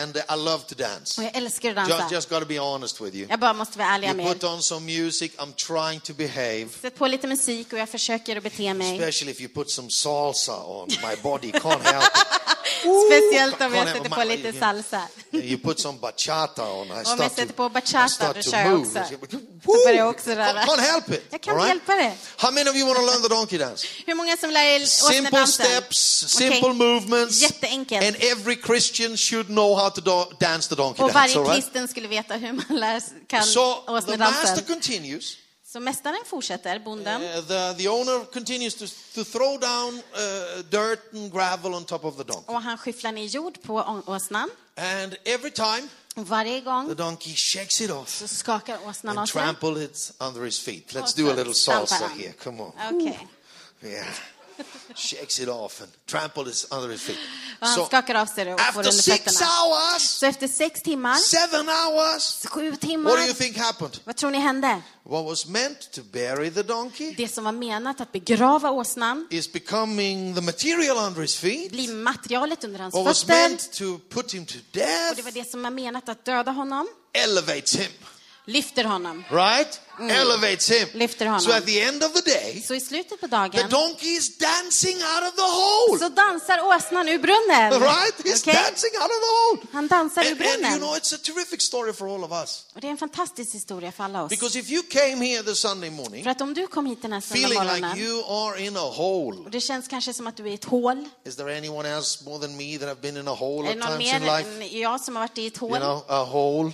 Speaker 2: And I love to dance.
Speaker 3: Och jag älskar att
Speaker 2: Just,
Speaker 3: dansa.
Speaker 2: just got to be honest with you.
Speaker 3: Jag bara måste vara ärlig
Speaker 2: You
Speaker 3: med er.
Speaker 2: put on some music. I'm trying to behave.
Speaker 3: Sätt på lite musik och jag försöker att bete mig.
Speaker 2: Especially if you put some salsa on. My body can't help it.
Speaker 3: Speciellt om
Speaker 2: Kolla,
Speaker 3: jag sätter på
Speaker 2: mamma,
Speaker 3: lite
Speaker 2: ja.
Speaker 3: salsa.
Speaker 2: You put some bachata on. I
Speaker 3: Om jag
Speaker 2: start
Speaker 3: sätter
Speaker 2: to,
Speaker 3: på
Speaker 2: I
Speaker 3: bachata,
Speaker 2: start
Speaker 3: då
Speaker 2: to
Speaker 3: kör jag
Speaker 2: move.
Speaker 3: också.
Speaker 2: Woo!
Speaker 3: börjar jag också röra.
Speaker 2: Can't- Can't help it.
Speaker 3: Jag kan
Speaker 2: all
Speaker 3: inte
Speaker 2: right?
Speaker 3: hjälpa det.
Speaker 2: How many of you want to learn the donkey dance?
Speaker 3: Hur många som lär er
Speaker 2: Simple
Speaker 3: åsnedansen?
Speaker 2: steps, simple
Speaker 3: Okej.
Speaker 2: movements.
Speaker 3: Jätteenkelt.
Speaker 2: And every Christian should know how to do- dance the donkey
Speaker 3: Och
Speaker 2: dance.
Speaker 3: varje
Speaker 2: All right?
Speaker 3: kristen skulle veta hur man lär, kan
Speaker 2: So the master
Speaker 3: åsnedansen.
Speaker 2: continues.
Speaker 3: Så mästaren fortsätter, bonden.
Speaker 2: Uh, the, the owner continues to, to throw down uh, dirt and gravel on top of the donkey.
Speaker 3: Och han skyfflar ner jord på å- åsnan.
Speaker 2: And every time
Speaker 3: Och varje
Speaker 2: the
Speaker 3: gång
Speaker 2: donkey shakes it off
Speaker 3: så skakar åsnan av
Speaker 2: and
Speaker 3: sig.
Speaker 2: trample it under his feet. Let's
Speaker 3: Och
Speaker 2: do a
Speaker 3: så
Speaker 2: little
Speaker 3: stampar
Speaker 2: salsa
Speaker 3: han.
Speaker 2: here. Come on.
Speaker 3: Okej.
Speaker 2: Yeah. shakes it off and tramples it under his feet.
Speaker 3: Och han
Speaker 2: So
Speaker 3: skakar av sig det och får
Speaker 2: after
Speaker 3: under
Speaker 2: six
Speaker 3: fötterna.
Speaker 2: hours,
Speaker 3: Så efter sex timmar,
Speaker 2: seven hours,
Speaker 3: sju
Speaker 2: what do you
Speaker 3: timmar,
Speaker 2: think happened?
Speaker 3: vad tror ni hände?
Speaker 2: What was meant to bury the donkey
Speaker 3: Det som var menat att begrava åsnan
Speaker 2: is becoming the material under his feet.
Speaker 3: blir materialet under hans
Speaker 2: What was
Speaker 3: fötter.
Speaker 2: meant to put him to
Speaker 3: Och det var
Speaker 2: death
Speaker 3: det som var menat att döda honom,
Speaker 2: elevates him,
Speaker 3: lyfter honom.
Speaker 2: right? Elevates him.
Speaker 3: Lyfter honom.
Speaker 2: So at the end of the day,
Speaker 3: Så i slutet på
Speaker 2: the
Speaker 3: dagen
Speaker 2: donkey is dancing out of the hole.
Speaker 3: så dansar åsnan ur brunnen.
Speaker 2: Right? He's
Speaker 3: Okej?
Speaker 2: dancing out of the hole.
Speaker 3: Han dansar ur
Speaker 2: And, and you know,
Speaker 3: brunnen.
Speaker 2: it's a terrific story for all of us.
Speaker 3: Och det är en fantastisk historia för alla oss.
Speaker 2: Because if you came here this Sunday morning
Speaker 3: För att om du kom hit den här söndag
Speaker 2: feeling like
Speaker 3: morgonen
Speaker 2: you are in a hole,
Speaker 3: och det känns kanske som att du är i ett hål.
Speaker 2: is there anyone else more than me that have been in a hole
Speaker 3: Är
Speaker 2: at
Speaker 3: det någon
Speaker 2: times in
Speaker 3: mer
Speaker 2: life?
Speaker 3: än jag som har varit i ett
Speaker 2: You
Speaker 3: hål?
Speaker 2: know, a hole.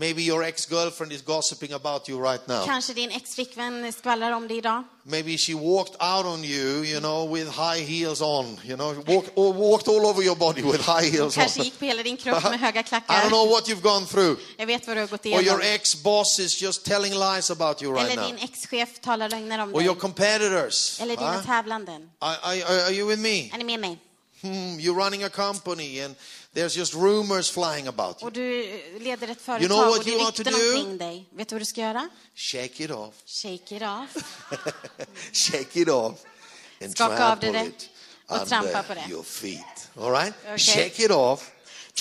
Speaker 2: Maybe your ex girlfriend is gossiping about you right now.
Speaker 3: Kanske din ex-flickvän skvallrar om det idag.
Speaker 2: Maybe she walked out on you, you know, with high heels on, you know, walk, or walked all over your body with high heels on.
Speaker 3: Kanske gick på hela din kropp med höga
Speaker 2: Alltså. I don't
Speaker 3: klackar.
Speaker 2: know what you've gone through.
Speaker 3: Jag vet vad du har gått
Speaker 2: Or your
Speaker 3: igenom.
Speaker 2: ex boss is just telling lies about you right
Speaker 3: Eller
Speaker 2: now.
Speaker 3: din ex-chef talar lögner om
Speaker 2: Or your
Speaker 3: dig.
Speaker 2: competitors.
Speaker 3: Eller dina
Speaker 2: Huh?
Speaker 3: tävlanden.
Speaker 2: Are, are, are are you with me?
Speaker 3: Är ni med mig?
Speaker 2: Hmm, you're running a company and there's just rumors flying about you.
Speaker 3: Och du leder ett
Speaker 2: You
Speaker 3: företag
Speaker 2: know what
Speaker 3: och det
Speaker 2: you
Speaker 3: är
Speaker 2: ought to
Speaker 3: rykten
Speaker 2: do?
Speaker 3: omkring dig. Vet du vad du ska göra?
Speaker 2: Shake it off.
Speaker 3: Shake it off.
Speaker 2: Shake it off. And
Speaker 3: Skaka av dig
Speaker 2: trample
Speaker 3: det
Speaker 2: it
Speaker 3: och trampa på
Speaker 2: under
Speaker 3: det.
Speaker 2: your feet. All right?
Speaker 3: Okay.
Speaker 2: Shake it off.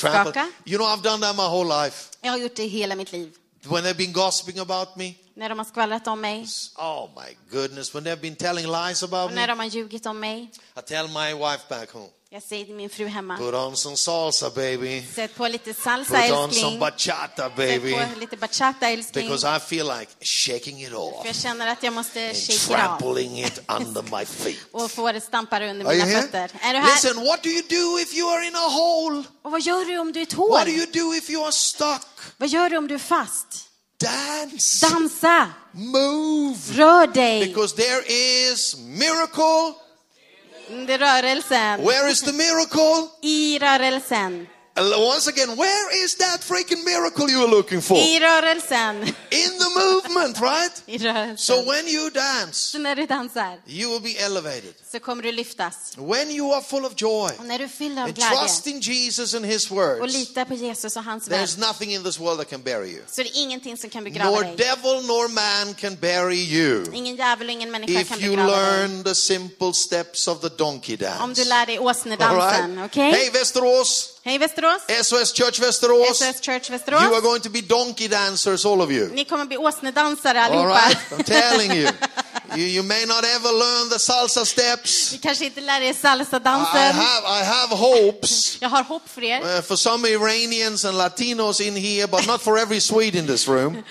Speaker 2: Trample.
Speaker 3: Skaka.
Speaker 2: You know, I've done that my whole life.
Speaker 3: Jag har gjort det hela mitt liv.
Speaker 2: When they've been gossiping about me,
Speaker 3: När de har skvallrat om mig.
Speaker 2: oh my goodness, when they've been telling lies about
Speaker 3: Och
Speaker 2: me,
Speaker 3: när de har ljugit om mig.
Speaker 2: I tell my wife back home,
Speaker 3: Jag säger till min fru hemma.
Speaker 2: put on some salsa, baby.
Speaker 3: Sätt på lite salsa
Speaker 2: Put on
Speaker 3: älskling.
Speaker 2: some bachata,
Speaker 3: Sätt
Speaker 2: baby.
Speaker 3: på lite bachata älskling.
Speaker 2: Because I feel like shaking it off.
Speaker 3: För jag känner att jag måste
Speaker 2: and
Speaker 3: shake it off.
Speaker 2: trampling it under my feet.
Speaker 3: Och få det stampar under mina fötter. Är du här?
Speaker 2: Listen, what do you do if you are in a hole?
Speaker 3: Och vad gör du om du är ett hål?
Speaker 2: What do you do if you are stuck?
Speaker 3: Vad gör du om du är fast?
Speaker 2: Dance,
Speaker 3: Dansa!
Speaker 2: move,
Speaker 3: Rör dig!
Speaker 2: because there is miracle.
Speaker 3: Mm, Det är rörelsen.
Speaker 2: Where is the miracle?
Speaker 3: I rörelsen.
Speaker 2: Once again, where is that freaking miracle you were looking for?
Speaker 3: I rörelsen.
Speaker 2: In the movement, right?
Speaker 3: I rörelsen.
Speaker 2: So when you dance,
Speaker 3: Så när du dansar
Speaker 2: you will be elevated.
Speaker 3: så kommer du lyftas.
Speaker 2: When you are full of joy
Speaker 3: Och när du fyller av
Speaker 2: and
Speaker 3: glädje
Speaker 2: trust in Jesus and His
Speaker 3: och
Speaker 2: words,
Speaker 3: litar på Jesus och hans verk
Speaker 2: there's nothing in this world that can bury you.
Speaker 3: så är det ingenting som kan begrava
Speaker 2: Nor
Speaker 3: dig.
Speaker 2: devil nor man can bury you
Speaker 3: Ingen djävul och ingen människa kan
Speaker 2: if you
Speaker 3: begrava dig.
Speaker 2: learn the simple steps of the donkey
Speaker 3: Om
Speaker 2: dance.
Speaker 3: du lär dig åsnedansen, okej?
Speaker 2: Hey Västerås,
Speaker 3: Hej Västerås!
Speaker 2: SOS Church Västerås,
Speaker 3: SOS Church
Speaker 2: you are
Speaker 3: Västerås.
Speaker 2: going to be donkey dancers, all of you.
Speaker 3: Ni kommer bli åsnedansare
Speaker 2: All
Speaker 3: allihopa.
Speaker 2: right? I'm telling you. you. You may not ever learn the salsa steps.
Speaker 3: Ni kanske inte lär er
Speaker 2: I I
Speaker 3: salsa-dansen.
Speaker 2: have, I have hopes.
Speaker 3: Jag har hopp för er.
Speaker 2: uh, for some Iranians and Latinos in here, but not for every Swede in this room.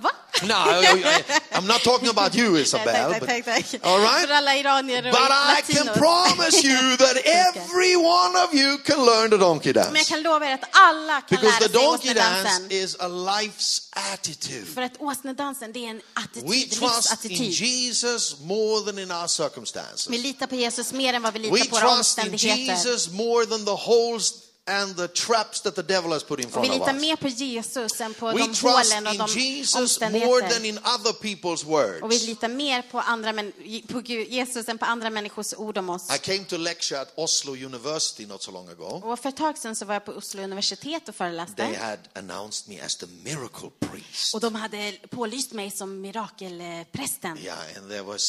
Speaker 3: Va?
Speaker 2: No, I, am not talking about you, Isabel.
Speaker 3: tack,
Speaker 2: but-
Speaker 3: tack, tack, tack.
Speaker 2: All right?
Speaker 3: För alla iranier och
Speaker 2: But I can
Speaker 3: latinos.
Speaker 2: promise you that every one of you can learn the donkey
Speaker 3: Men jag
Speaker 2: dance.
Speaker 3: kan lova er att alla kan
Speaker 2: Because the
Speaker 3: lära sig
Speaker 2: donkey dance
Speaker 3: åsnedansen.
Speaker 2: is a life's attitude.
Speaker 3: För att åsnedansen, det är en
Speaker 2: We
Speaker 3: attityd,
Speaker 2: trust in
Speaker 3: livsattityd.
Speaker 2: Jesus more than in our
Speaker 3: Vi
Speaker 2: circumstances.
Speaker 3: litar på Jesus mer än vad vi
Speaker 2: We
Speaker 3: litar på våra
Speaker 2: trust in
Speaker 3: omständigheter.
Speaker 2: Jesus more than the holes and the traps that the devil has put in
Speaker 3: Och vi
Speaker 2: front of
Speaker 3: litar
Speaker 2: us.
Speaker 3: mer på Jesus än på
Speaker 2: We
Speaker 3: de
Speaker 2: trust
Speaker 3: hålen och
Speaker 2: in
Speaker 3: de
Speaker 2: Jesus more than
Speaker 3: omständigheter.
Speaker 2: in other people's
Speaker 3: Och vi
Speaker 2: words.
Speaker 3: litar mer på, andra, män- på Gud, Jesus än på andra människors ord om oss.
Speaker 2: I came to lecture at Oslo University not so long ago.
Speaker 3: Och för ett tag sedan så var jag på Oslo universitet
Speaker 2: They
Speaker 3: och föreläste.
Speaker 2: had announced me as the miracle priest.
Speaker 3: Och de hade pålyst mig som mirakelprästen.
Speaker 2: Yeah, and there was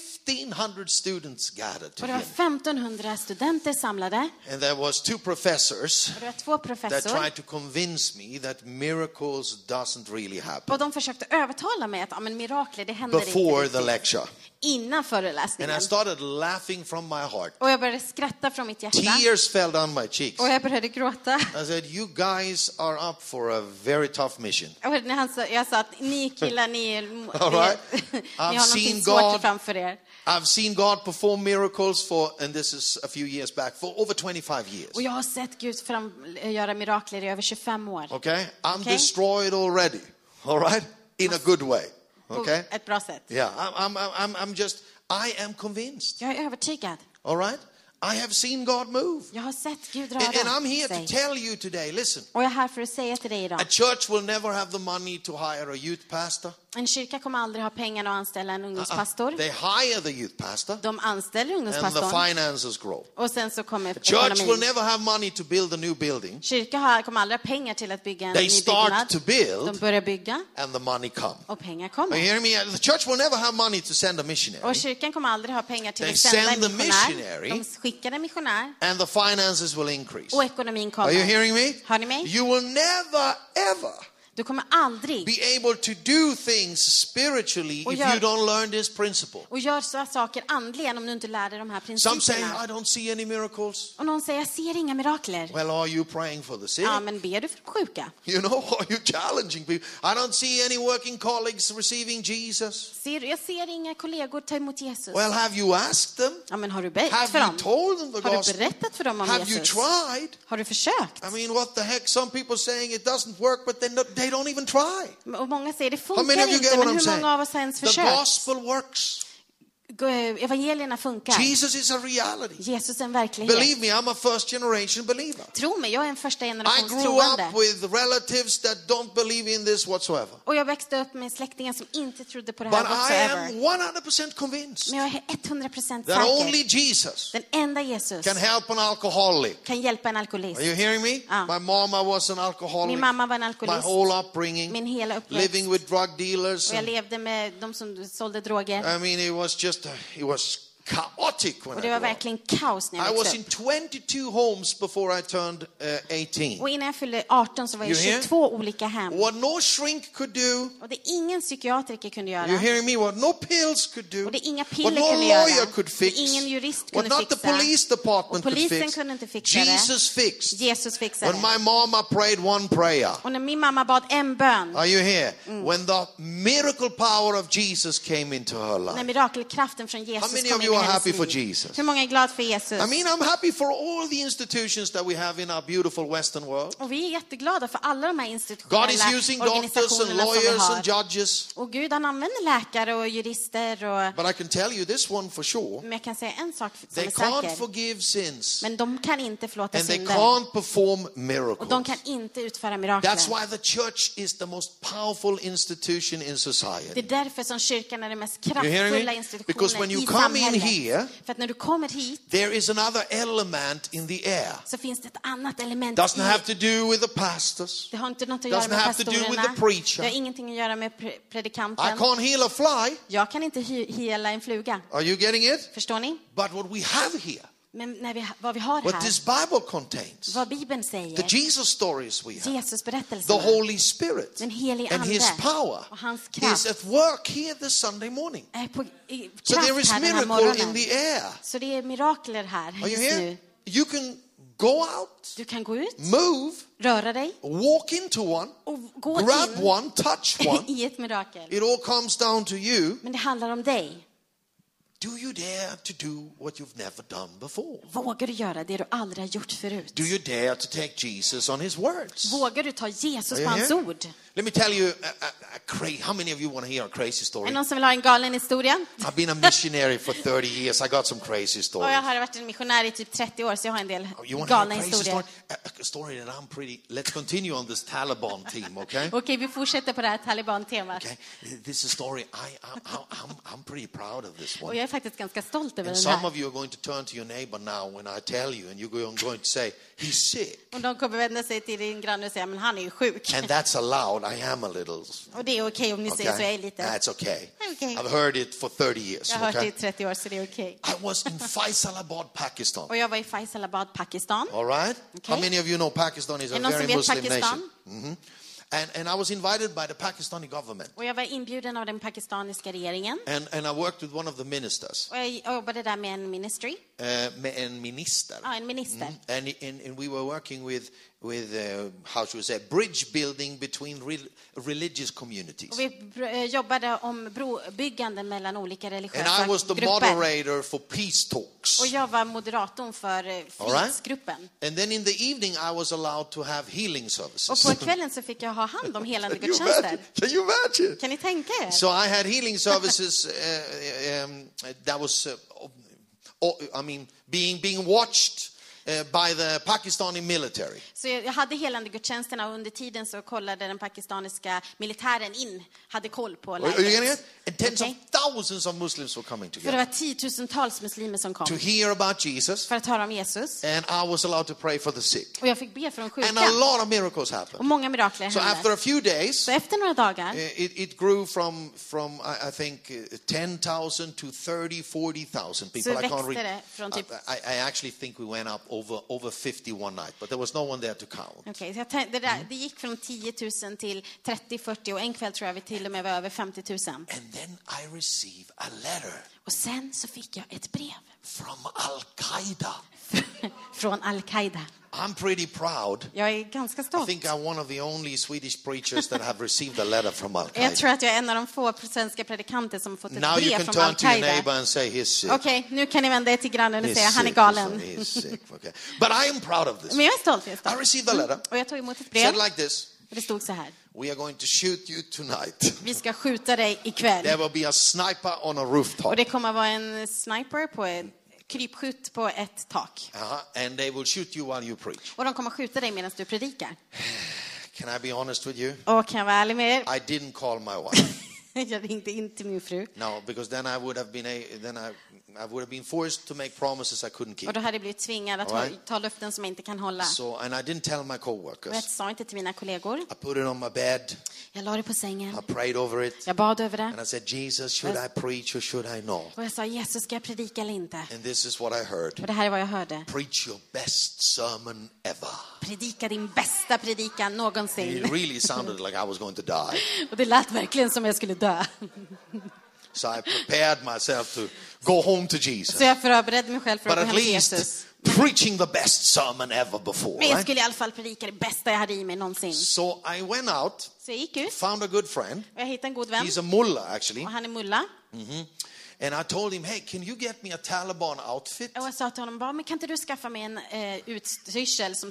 Speaker 2: 1,500 students gathered to
Speaker 3: Och det var
Speaker 2: him.
Speaker 3: 1500 studenter samlade.
Speaker 2: And there was two professors
Speaker 3: Och det var två
Speaker 2: that
Speaker 3: professorer.
Speaker 2: tried to convince me that miracles doesn't really
Speaker 3: Och
Speaker 2: happen
Speaker 3: de försökte övertala mig att ja, men mirakler, det händer
Speaker 2: before the
Speaker 3: inte riktigt.
Speaker 2: lecture.
Speaker 3: Innan
Speaker 2: And I
Speaker 3: föreläsningen.
Speaker 2: started laughing from my heart.
Speaker 3: Och jag började skratta från mitt hjärta.
Speaker 2: Tears fell down my cheeks.
Speaker 3: Och jag började gråta.
Speaker 2: I said, you guys are up for a very tough mission.
Speaker 3: Och när han sa, jag sa att ni killar, ni, är- ni,
Speaker 2: All right.
Speaker 3: ni
Speaker 2: I've
Speaker 3: har
Speaker 2: seen
Speaker 3: någonting svårt
Speaker 2: God.
Speaker 3: framför er.
Speaker 2: I've seen God perform miracles for, and this is a few years back, for over 25 years.
Speaker 3: Och jag har sett Gud fram, göra mirakler i över 25 år.
Speaker 2: Okay? I'm
Speaker 3: Okay.
Speaker 2: destroyed already. All right? In a good way.
Speaker 3: På
Speaker 2: Okay?
Speaker 3: ett bra sätt.
Speaker 2: Yeah, I'm, I'm, I'm- I'm, I'm just, I am convinced,
Speaker 3: Jag är övertygad.
Speaker 2: all right? I have seen God move.
Speaker 3: Jag har sett Gud
Speaker 2: And, and I'm
Speaker 3: röra
Speaker 2: here to
Speaker 3: sig.
Speaker 2: tell you today listen,
Speaker 3: Och jag är här för att säga till dig idag.
Speaker 2: a church will never have the money to hire a youth pastor.
Speaker 3: En kyrka kommer aldrig ha pengar att anställa en
Speaker 2: Uh-uh.
Speaker 3: ungdomspastor.
Speaker 2: They hire the youth pastor,
Speaker 3: De anställer
Speaker 2: and the
Speaker 3: ungdomspastorn
Speaker 2: finances grow.
Speaker 3: och sen så kommer
Speaker 2: Church will
Speaker 3: ekonomin.
Speaker 2: never have money to build a new building.
Speaker 3: Kyrka har- kommer aldrig ha pengar till att bygga en
Speaker 2: They
Speaker 3: ny
Speaker 2: start to
Speaker 3: byggnad. De
Speaker 2: build,
Speaker 3: börjar bygga
Speaker 2: and the money come.
Speaker 3: och pengar
Speaker 2: Are you
Speaker 3: kommer.
Speaker 2: hearing me? The church will never have money to send a missionary,
Speaker 3: Och kyrkan kommer aldrig ha pengar till
Speaker 2: They
Speaker 3: att sända
Speaker 2: send
Speaker 3: en
Speaker 2: the
Speaker 3: missionär.
Speaker 2: missionary.
Speaker 3: De skickar en missionär
Speaker 2: and the finances will increase.
Speaker 3: och ekonomin
Speaker 2: Are you
Speaker 3: kommer.
Speaker 2: hearing me?
Speaker 3: Hör ni mig?
Speaker 2: You will never, ever
Speaker 3: Du kommer aldrig
Speaker 2: be able to do things spiritually
Speaker 3: Och
Speaker 2: if
Speaker 3: gör-
Speaker 2: you don't learn this principle.
Speaker 3: och gör så här saker andligen om du inte lär dig de här
Speaker 2: Some say, I
Speaker 3: principerna.
Speaker 2: don't see any miracles.
Speaker 3: Och någon säger, jag ser inga mirakler.
Speaker 2: Well, are you praying for the sick?
Speaker 3: Ja, men ber du för de sjuka?
Speaker 2: You know, are you challenging people? I don't see any working colleagues receiving Jesus.
Speaker 3: Ser, du- jag ser inga kollegor ta emot Jesus.
Speaker 2: Well, have you asked them?
Speaker 3: Ja, men har du bett
Speaker 2: Have
Speaker 3: för
Speaker 2: you
Speaker 3: dem?
Speaker 2: told them the
Speaker 3: Har du
Speaker 2: gospel?
Speaker 3: berättat för dem om
Speaker 2: Have you
Speaker 3: Jesus?
Speaker 2: tried?
Speaker 3: Har du försökt?
Speaker 2: I mean, what the heck? Some people saying it doesn't work, but they, no, they don't even try.
Speaker 3: Och många säger det
Speaker 2: Um, How many
Speaker 3: funkar
Speaker 2: of you
Speaker 3: inte,
Speaker 2: get what
Speaker 3: men
Speaker 2: I'm
Speaker 3: hur
Speaker 2: saying?
Speaker 3: många av oss har ens
Speaker 2: The
Speaker 3: försökt?
Speaker 2: gospel works.
Speaker 3: Gå- eh, Evangelierna funkar.
Speaker 2: Jesus is a reality.
Speaker 3: Jesus är en verklighet.
Speaker 2: Believe me, I'm a first generation believer.
Speaker 3: Tro mig, jag är en första
Speaker 2: I
Speaker 3: generations
Speaker 2: grew up
Speaker 3: troende.
Speaker 2: with relatives that don't believe in this whatsoever.
Speaker 3: Och jag växte upp med släktingar som inte trodde på det här
Speaker 2: But I am
Speaker 3: whatsoever.
Speaker 2: 100% convinced
Speaker 3: Men jag är 100%
Speaker 2: that
Speaker 3: säker.
Speaker 2: only Jesus
Speaker 3: Den enda Jesus
Speaker 2: can help an alcoholic.
Speaker 3: kan hjälpa en
Speaker 2: Are
Speaker 3: alkoholist.
Speaker 2: you hearing me?
Speaker 3: Ah.
Speaker 2: My mama was an alcoholic.
Speaker 3: Min mamma var en
Speaker 2: My
Speaker 3: alkoholist.
Speaker 2: whole upbringing,
Speaker 3: Min hela uppväxt.
Speaker 2: living with drug dealers.
Speaker 3: Och jag
Speaker 2: and-
Speaker 3: levde med de som sålde droger.
Speaker 2: I mean, it was just, uh, it was chaotic when
Speaker 3: Och
Speaker 2: I
Speaker 3: det
Speaker 2: grew
Speaker 3: var
Speaker 2: up.
Speaker 3: verkligen kaos när
Speaker 2: I
Speaker 3: jag
Speaker 2: was
Speaker 3: växte
Speaker 2: in
Speaker 3: upp.
Speaker 2: 22 homes before I turned uh, 18.
Speaker 3: Och innan jag fyllde 18 så var jag
Speaker 2: You hear?
Speaker 3: i 22 olika hem.
Speaker 2: What no shrink could do,
Speaker 3: Och det ingen psykiatriker kunde göra.
Speaker 2: you hearing me? What no pills could do,
Speaker 3: Och det inga
Speaker 2: what
Speaker 3: piller
Speaker 2: no
Speaker 3: kunde göra.
Speaker 2: lawyer could fix,
Speaker 3: Det ingen jurist
Speaker 2: what
Speaker 3: kunde
Speaker 2: not the
Speaker 3: fixa.
Speaker 2: police department
Speaker 3: Och
Speaker 2: could
Speaker 3: polisen
Speaker 2: fix,
Speaker 3: kunde inte fixa det.
Speaker 2: Jesus fixed.
Speaker 3: Jesus Mm. fixade
Speaker 2: When
Speaker 3: det.
Speaker 2: my mama prayed one prayer,
Speaker 3: Och när min mamma bad en bön,
Speaker 2: are you here?
Speaker 3: Mm.
Speaker 2: When the miracle power of Jesus came into her
Speaker 3: när
Speaker 2: life.
Speaker 3: mirakelkraften från
Speaker 2: How
Speaker 3: Jesus
Speaker 2: many
Speaker 3: kom
Speaker 2: of
Speaker 3: in
Speaker 2: you
Speaker 3: i
Speaker 2: are
Speaker 3: hennes
Speaker 2: happy for
Speaker 3: liv.
Speaker 2: Jesus?
Speaker 3: Hur många är glada för Jesus?
Speaker 2: I mean, I'm happy for all the institutions that we have in our beautiful Western world.
Speaker 3: Och vi är jätteglada för alla de här
Speaker 2: God
Speaker 3: institutionella
Speaker 2: is using doctors and
Speaker 3: organisationerna som vi
Speaker 2: lawyers and
Speaker 3: har.
Speaker 2: judges.
Speaker 3: Och Gud, han använder läkare och jurister och...
Speaker 2: But I can tell you this one for sure.
Speaker 3: Men jag kan säga en sak Mm, som
Speaker 2: They
Speaker 3: är
Speaker 2: can't
Speaker 3: säker.
Speaker 2: forgive sins
Speaker 3: Men de kan inte förlåta
Speaker 2: and they
Speaker 3: synder.
Speaker 2: can't perform
Speaker 3: Och de kan
Speaker 2: miracles.
Speaker 3: inte utföra
Speaker 2: That's
Speaker 3: mirakler.
Speaker 2: why the church is the most powerful institution in
Speaker 3: Det
Speaker 2: society.
Speaker 3: är därför som kyrkan är den mest
Speaker 2: hearing me?
Speaker 3: kraftfulla
Speaker 2: Because when
Speaker 3: institutionen
Speaker 2: you
Speaker 3: i
Speaker 2: come in
Speaker 3: samhället.
Speaker 2: here-
Speaker 3: För att när du kommer hit
Speaker 2: There is another element in the air.
Speaker 3: så finns det ett annat element
Speaker 2: Doesn't
Speaker 3: i
Speaker 2: have to do with the pastors.
Speaker 3: Det har inte något att
Speaker 2: Doesn't
Speaker 3: göra med
Speaker 2: have to do with
Speaker 3: pastorerna.
Speaker 2: the preacher.
Speaker 3: Det har ingenting att göra med pre-
Speaker 2: I
Speaker 3: predikanten.
Speaker 2: can't heal a fly.
Speaker 3: Jag kan inte hy- hela en fluga.
Speaker 2: Are you getting it?
Speaker 3: Förstår ni?
Speaker 2: But what we have here,
Speaker 3: Men när vi, vad vi har
Speaker 2: what
Speaker 3: här,
Speaker 2: this Bible contains,
Speaker 3: vad Bibeln
Speaker 2: the
Speaker 3: säger,
Speaker 2: Jesus stories we have,
Speaker 3: Jesus berättelse,
Speaker 2: the Holy Spirit
Speaker 3: den helige
Speaker 2: and His power
Speaker 3: Ande och hans kraft
Speaker 2: is at work here this Sunday morning.
Speaker 3: är på i,
Speaker 2: So
Speaker 3: kraft
Speaker 2: there is
Speaker 3: här den här
Speaker 2: miracle in
Speaker 3: morgonen.
Speaker 2: the air.
Speaker 3: Så det är mirakler här
Speaker 2: Are you
Speaker 3: just
Speaker 2: here?
Speaker 3: nu.
Speaker 2: You can go out,
Speaker 3: Du kan gå ut,
Speaker 2: move,
Speaker 3: röra dig
Speaker 2: walk into one,
Speaker 3: och gå
Speaker 2: grab
Speaker 3: in
Speaker 2: one, touch one.
Speaker 3: i ett mirakel.
Speaker 2: It all comes down to you.
Speaker 3: Men det handlar om dig.
Speaker 2: Do you dare to do what you've never done before?
Speaker 3: Vågar du göra det du aldrig har gjort förut?
Speaker 2: Do you dare to take Jesus on his words?
Speaker 3: Vågar du ta Jesus
Speaker 2: Are
Speaker 3: på
Speaker 2: you
Speaker 3: hans
Speaker 2: here?
Speaker 3: ord?
Speaker 2: Let me tell you a, a, a cra- how many of you want to hear a crazy
Speaker 3: Är det
Speaker 2: story?
Speaker 3: någon som vill ha en galen historia?
Speaker 2: I've been a missionary for 30 years. I got some crazy
Speaker 3: Och
Speaker 2: stories.
Speaker 3: jag har varit en missionär i typ 30 år, så jag har en del
Speaker 2: Oh, You want to hear
Speaker 3: galna
Speaker 2: a crazy
Speaker 3: historier.
Speaker 2: story? A, a story that I'm pretty. Let's continue on this Taliban team, okay?
Speaker 3: Okej, vi fortsätter på det här taliban-temat.
Speaker 2: Okay. This is a story I, I, I I'm, I'm pretty proud of this
Speaker 3: Och
Speaker 2: one.
Speaker 3: jag är faktiskt ganska stolt över
Speaker 2: And
Speaker 3: den
Speaker 2: some
Speaker 3: här.
Speaker 2: of you are going to turn to your neighbor now when I tell you, and you're going going to say, "He's sick,"
Speaker 3: Och de kommer vända sig till din granne och säga, men han är ju sjuk.
Speaker 2: and that's allowed. I am a little.
Speaker 3: Och det är okej om ni säger så, jag är lite...
Speaker 2: That's okay.
Speaker 3: Okay.
Speaker 2: I've heard it for 30 years.
Speaker 3: Jag har hört det i
Speaker 2: Okay?
Speaker 3: 30 år, så det är okej.
Speaker 2: I was in Faisalabad, Pakistan.
Speaker 3: Och jag var i Faisalabad, Pakistan.
Speaker 2: All right? How
Speaker 3: Okay.
Speaker 2: many of you know Pakistan is a
Speaker 3: Är någon
Speaker 2: very
Speaker 3: som vet
Speaker 2: Muslim
Speaker 3: Pakistan?
Speaker 2: nation? hmm And, and I was invited by the Pakistani government.
Speaker 3: Och jag var inbjuden av den pakistaniska regeringen.
Speaker 2: And, and I worked with one of the ministers,
Speaker 3: Och jag jag jobbade där med en ministry,
Speaker 2: uh, me- and minister.
Speaker 3: ja, en minister.
Speaker 2: And, and, and we were working with, with uh, how should we say, bridge building between rel- religious communities.
Speaker 3: Och vi br- eh, jobbade om brobyggande mellan olika
Speaker 2: And I was
Speaker 3: religiösa
Speaker 2: the
Speaker 3: grupper.
Speaker 2: moderator for peace talks.
Speaker 3: Och jag var moderatorn för eh,
Speaker 2: right.
Speaker 3: fredsgruppen.
Speaker 2: And then in the evening, I was allowed to have healing
Speaker 3: Och
Speaker 2: services.
Speaker 3: på kvällen så fick jag ha hand om helande
Speaker 2: Can you
Speaker 3: gudstjänster.
Speaker 2: imagine? Can you imagine?
Speaker 3: Kan ni tänka er?
Speaker 2: So I had healing services uh, um, that was, uh, oh, I mean, being being watched uh, by the Pakistani military.
Speaker 3: Så jag jag hade helande och under tiden så kollade den pakistaniska militären in, hade koll på
Speaker 2: Are, are you getting
Speaker 3: läget.
Speaker 2: it? And tens
Speaker 3: Okay.
Speaker 2: of thousands of Muslims were coming
Speaker 3: För det var
Speaker 2: together
Speaker 3: tiotusentals muslimer som
Speaker 2: to
Speaker 3: kom
Speaker 2: hear about Jesus,
Speaker 3: för att höra om Jesus.
Speaker 2: and I was allowed to pray for the sick.
Speaker 3: Och jag fick be för de
Speaker 2: And
Speaker 3: sjuka.
Speaker 2: a lot of miracles
Speaker 3: Och
Speaker 2: happened.
Speaker 3: många mirakler
Speaker 2: So after Eh.
Speaker 3: hände.
Speaker 2: a few days,
Speaker 3: Så efter några dagar
Speaker 2: It, it grew from, from I, I think, uh, 10,000 to 30, 40,000 people.
Speaker 3: Så
Speaker 2: I can't
Speaker 3: växte
Speaker 2: read.
Speaker 3: det från typ-
Speaker 2: I, I- I actually think we went up over, over 50 one night, but there was no one there to count.
Speaker 3: Okej, så jag tän- det, där, det gick från 10 000 till 30 40 och en kväll tror jag vi till och med var över 50 000.
Speaker 2: And then I received a letter
Speaker 3: Och sen så fick jag ett brev
Speaker 2: from Al Qaeda.
Speaker 3: från Al-Qaida.
Speaker 2: I'm pretty proud.
Speaker 3: Jag är ganska
Speaker 2: I
Speaker 3: stolt.
Speaker 2: think I'm one of the only Swedish preachers that have received a letter from Al
Speaker 3: Jag tror
Speaker 2: Qaeda.
Speaker 3: att jag är en av de få svenska predikanter som fått ett
Speaker 2: Now you
Speaker 3: brev
Speaker 2: can
Speaker 3: från
Speaker 2: turn to your neighbor
Speaker 3: Al-Qaida.
Speaker 2: and say, he's sick.
Speaker 3: Okej, nu kan ni vända er till grannen och
Speaker 2: He's
Speaker 3: säga han är
Speaker 2: sick, he's-
Speaker 3: galen.
Speaker 2: He's sick. Okay. But I am proud of this.
Speaker 3: Men jag är stolt, jag är
Speaker 2: I
Speaker 3: stolt.
Speaker 2: received a letter.
Speaker 3: Och jag tog emot ett brev
Speaker 2: Said like this.
Speaker 3: och det stod så här.
Speaker 2: We are going to shoot you tonight.
Speaker 3: Vi ska skjuta dig
Speaker 2: There
Speaker 3: ikväll.
Speaker 2: will be a sniper on a
Speaker 3: Och
Speaker 2: rooftop.
Speaker 3: det kommer vara en sniper på en krypskytt på ett tak.
Speaker 2: Uh-huh. And they will shoot you while you preach.
Speaker 3: Och de kommer skjuta dig medan du predikar.
Speaker 2: Can I be honest with you?
Speaker 3: Och kan jag vara ärlig med
Speaker 2: I didn't call my wife.
Speaker 3: er, jag ringde inte min fru.
Speaker 2: No, because then I would have been a, then I, I would have been forced to make promises I couldn't
Speaker 3: Och
Speaker 2: keep.
Speaker 3: då hade jag blivit tvingad att
Speaker 2: All right.
Speaker 3: ha- ta löften som jag inte kan hålla.
Speaker 2: So and I didn't tell my
Speaker 3: Och jag
Speaker 2: coworkers.
Speaker 3: sa inte till mina kollegor.
Speaker 2: I put it on my bed.
Speaker 3: Jag la det på sängen.
Speaker 2: I prayed over it.
Speaker 3: Jag bad över
Speaker 2: And I
Speaker 3: det.
Speaker 2: said, Jesus, should I preach or should I not?
Speaker 3: Och jag sa, Jesus, ska jag predika eller inte?
Speaker 2: And this is what I heard.
Speaker 3: Och det här är vad jag hörde.
Speaker 2: Preach your best sermon ever.
Speaker 3: Predika din bästa predikan
Speaker 2: It
Speaker 3: någonsin.
Speaker 2: really sounded like I was going to die.
Speaker 3: Och det lät verkligen som jag skulle dö.
Speaker 2: So I prepared myself to go home to
Speaker 3: Så
Speaker 2: Jesus.
Speaker 3: jag förberedde mig själv för att
Speaker 2: But at
Speaker 3: gå hem till
Speaker 2: least
Speaker 3: Jesus.
Speaker 2: preaching the best sermon ever before.
Speaker 3: Men jag
Speaker 2: Right?
Speaker 3: skulle i alla fall predika det bästa jag hade i mig någonsin.
Speaker 2: So I went out,
Speaker 3: Så jag gick ut
Speaker 2: found a good friend.
Speaker 3: och jag hittade en god vän.
Speaker 2: He's a mullah, actually.
Speaker 3: Och han är mulla.
Speaker 2: And I told him, hey, can you get me a Taliban outfit?
Speaker 3: Och jag sa till honom, bara, men kan inte du skaffa mig en eh, utstyrsel som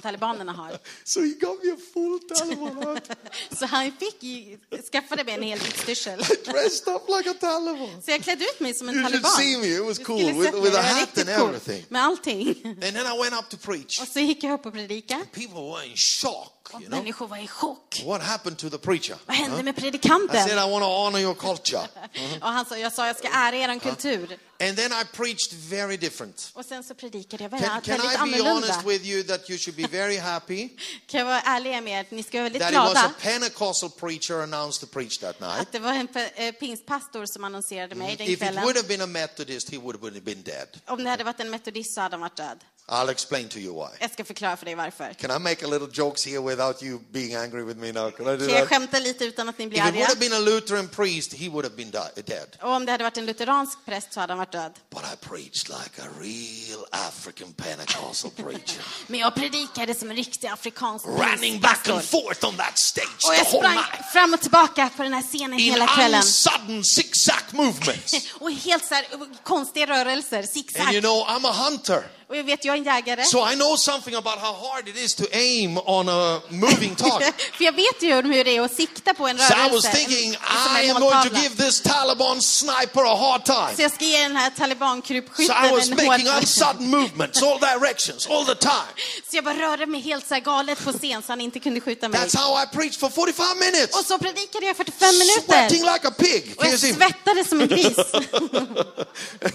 Speaker 3: talibanerna har?
Speaker 2: So he got me a full Taliban outfit,
Speaker 3: Så han fick ju, skaffade mig en hel utstyrsel.
Speaker 2: dressed up like a Taliban.
Speaker 3: Så jag klädde ut mig som en
Speaker 2: You should
Speaker 3: taliban.
Speaker 2: see me. It was
Speaker 3: Du
Speaker 2: cool.
Speaker 3: skulle
Speaker 2: With-
Speaker 3: sett mig.
Speaker 2: with a
Speaker 3: Jag
Speaker 2: hat
Speaker 3: var riktigt
Speaker 2: and
Speaker 3: cool.
Speaker 2: everything.
Speaker 3: Med allting.
Speaker 2: And then I went up to preach.
Speaker 3: Och så gick jag upp och predika.
Speaker 2: People were in shock,
Speaker 3: Och
Speaker 2: you know.
Speaker 3: människor var i chock.
Speaker 2: What happened to the preacher?
Speaker 3: Vad hände med
Speaker 2: I said,
Speaker 3: predikanten?
Speaker 2: I want to honor your culture.
Speaker 3: Och han sa, jag sa, jag ska ära er kultur.
Speaker 2: And then I preached very different.
Speaker 3: Och sen så predikade jag
Speaker 2: Can,
Speaker 3: väldigt,
Speaker 2: can
Speaker 3: väldigt
Speaker 2: I be
Speaker 3: annorlunda.
Speaker 2: honest with you that you should be very happy
Speaker 3: Kan jag vara ärlig med er? Ni ska vara väldigt
Speaker 2: that it was
Speaker 3: glada.
Speaker 2: a Pentecostal preacher announced to preach that night?
Speaker 3: Att det var en pe- eh, pingstpastor som annonserade mig den
Speaker 2: Mm. If it
Speaker 3: kvällen.
Speaker 2: would have been a Methodist, he would have been dead.
Speaker 3: Om det hade varit en metodist så hade han varit död.
Speaker 2: I'll explain to you why.
Speaker 3: Jag ska förklara för dig varför.
Speaker 2: Can I make a little jokes here without you being angry with me now? Can I do
Speaker 3: Kan jag
Speaker 2: that?
Speaker 3: skämta lite utan att ni blir
Speaker 2: If it would
Speaker 3: arga?
Speaker 2: have been a Lutheran priest, he would have been di- dead.
Speaker 3: Och om det hade varit en lutheransk präst så hade han varit död.
Speaker 2: But I preached like a real African Pentecostal preacher,
Speaker 3: Men jag predikade som en riktig afrikansk
Speaker 2: running back
Speaker 3: prästpastor.
Speaker 2: and forth on that stage
Speaker 3: Och
Speaker 2: the
Speaker 3: jag
Speaker 2: whole
Speaker 3: sprang
Speaker 2: night
Speaker 3: fram och tillbaka på den här scenen
Speaker 2: in
Speaker 3: hela kvällen.
Speaker 2: sudden zigzag movements.
Speaker 3: Och helt så här uh, konstiga rörelser,
Speaker 2: And you
Speaker 3: zigzag.
Speaker 2: know, I'm a hunter,
Speaker 3: Och jag vet, jag är en jägare.
Speaker 2: so I know something about how hard it is to aim on a moving target.
Speaker 3: För jag vet ju hur det är att sikta på en
Speaker 2: So I was
Speaker 3: rörelse. en-
Speaker 2: thinking,
Speaker 3: som
Speaker 2: I
Speaker 3: en
Speaker 2: am going to
Speaker 3: måltavla.
Speaker 2: give this Taliban sniper a hard time.
Speaker 3: Så jag ska ge den här
Speaker 2: So I was
Speaker 3: talibankrypskytten en
Speaker 2: making
Speaker 3: hård...
Speaker 2: up sudden movements, all directions, all the time.
Speaker 3: Så jag bara rörde mig helt så här galet på scen så han inte kunde skjuta mig.
Speaker 2: That's how I preached for 45 minutes,
Speaker 3: Och så predikade jag i 45
Speaker 2: sweating
Speaker 3: minuter.
Speaker 2: like a pig.
Speaker 3: Och
Speaker 2: Can you
Speaker 3: jag
Speaker 2: see?
Speaker 3: svettades som en gris.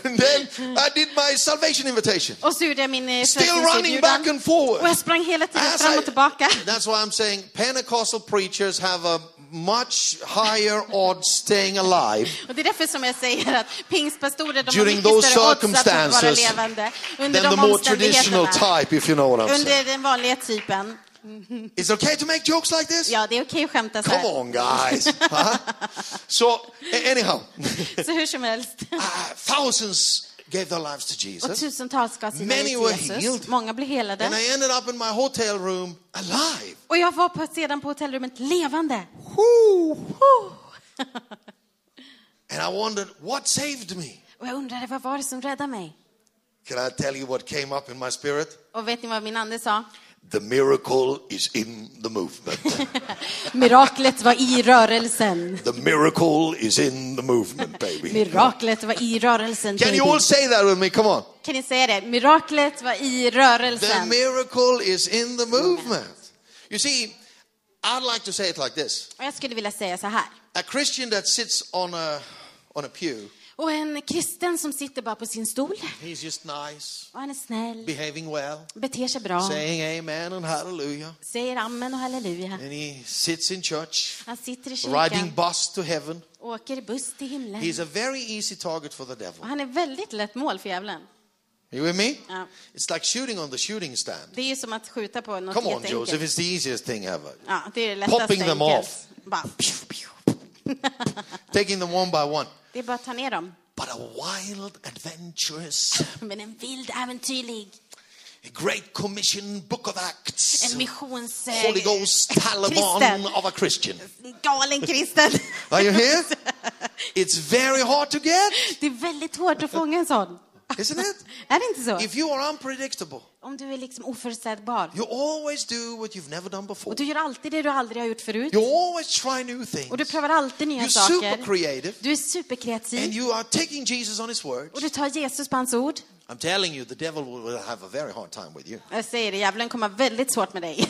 Speaker 2: And then I did my salvation invitation.
Speaker 3: Och så gjorde jag min eh,
Speaker 2: Still running back
Speaker 3: frälsningsinbjudan.
Speaker 2: and forward.
Speaker 3: Och jag sprang hela tiden
Speaker 2: As
Speaker 3: fram
Speaker 2: I-
Speaker 3: och tillbaka.
Speaker 2: That's why I'm saying Pentecostal preachers have a much higher odds staying alive
Speaker 3: Och det är därför som jag säger att pingstpastorer, de
Speaker 2: During
Speaker 3: har
Speaker 2: those
Speaker 3: mycket större odds att vara
Speaker 2: circumstances
Speaker 3: levande under
Speaker 2: than the
Speaker 3: de
Speaker 2: more traditional
Speaker 3: omständigheterna.
Speaker 2: type, if you know what I'm saying.
Speaker 3: Under den vanliga typen.
Speaker 2: Is it okay to make jokes like this?
Speaker 3: Ja, det är okej att skämta så
Speaker 2: Come
Speaker 3: här.
Speaker 2: on, guys. Huh? so, a- anyhow,
Speaker 3: Så hur som helst.
Speaker 2: uh, thousands gave their lives to
Speaker 3: Och
Speaker 2: Jesus,
Speaker 3: tusentals gav sina
Speaker 2: Many
Speaker 3: liv
Speaker 2: were
Speaker 3: till
Speaker 2: healed.
Speaker 3: Jesus. Många blev
Speaker 2: and I
Speaker 3: helade.
Speaker 2: ended up in my hotel room alive.
Speaker 3: Och jag var på, sedan på hotellrummet levande.
Speaker 2: Whoo!
Speaker 3: Oh!
Speaker 2: And I wondered, what saved me?
Speaker 3: Och jag undrade, vad var det som räddade mig?
Speaker 2: Can I tell you what came up in my spirit?
Speaker 3: Och vet ni vad min ande sa?
Speaker 4: The miracle is in the movement.
Speaker 3: Miraklet var i rörelsen.
Speaker 4: the miracle is in the movement, baby.
Speaker 3: Miraklet var i rörelsen.
Speaker 2: Can you
Speaker 3: baby.
Speaker 2: all say that with me? Come on.
Speaker 3: Kan ni säga det? Miraklet var i
Speaker 2: The
Speaker 3: rörelsen.
Speaker 2: miracle is in the movement. You see, I'd like to say it like this
Speaker 3: Och jag skulle vilja säga så här.
Speaker 2: a Christian that sits on a, on a pew,
Speaker 3: Och en kristen som sitter bara på sin stol,
Speaker 2: he's just nice,
Speaker 3: och han är snäll,
Speaker 2: behaving well,
Speaker 3: beter sig bra,
Speaker 2: saying amen and hallelujah.
Speaker 3: säger amen och halleluja.
Speaker 2: And he sits in church,
Speaker 3: Han sitter i
Speaker 2: riding
Speaker 3: kyrkan,
Speaker 2: bus to heaven.
Speaker 3: åker buss till himlen.
Speaker 2: He's a very easy target for the devil.
Speaker 3: Och han är väldigt lätt mål för djävulen.
Speaker 2: You with me?
Speaker 3: Ja.
Speaker 2: It's like shooting on the shooting stand.
Speaker 3: Det är ju som att skjuta på något
Speaker 2: Come on,
Speaker 3: jätteenkelt.
Speaker 2: Joseph, it's the easiest thing ever.
Speaker 3: Ja, det är det lättaste.
Speaker 2: Popping them
Speaker 3: enkelt.
Speaker 2: off.
Speaker 3: Bara,
Speaker 2: Taking them one by one.
Speaker 3: det är bara att ta ner dem.
Speaker 2: But a wild, adventurous,
Speaker 3: Men en vild, äventyrlig,
Speaker 2: Great Commission, Book of Acts,
Speaker 3: en missions... eh,
Speaker 2: Holy Ghost, Taliban
Speaker 3: Kristen.
Speaker 2: of a Christian.
Speaker 3: Galen kristen.
Speaker 2: Are you here? It's very hard to get,
Speaker 3: Det är väldigt hårt att fånga en sån.
Speaker 2: isn't it?
Speaker 3: Är det inte så?
Speaker 2: If you are unpredictable,
Speaker 3: Om du är liksom oförutsägbar.
Speaker 2: you always do what you've never done before.
Speaker 3: Och du gör alltid det du aldrig har gjort förut.
Speaker 2: You always try new
Speaker 3: Och du
Speaker 2: things.
Speaker 3: prövar alltid nya
Speaker 2: You're super
Speaker 3: saker.
Speaker 2: creative.
Speaker 3: Du är
Speaker 2: And
Speaker 3: superkreativ.
Speaker 2: you are taking Jesus on his word.
Speaker 3: Och du tar Jesus på hans ord.
Speaker 2: I'm telling you, the devil will will have a very hard time with you.
Speaker 3: Jag säger det, djävulen kommer ha väldigt svårt med dig.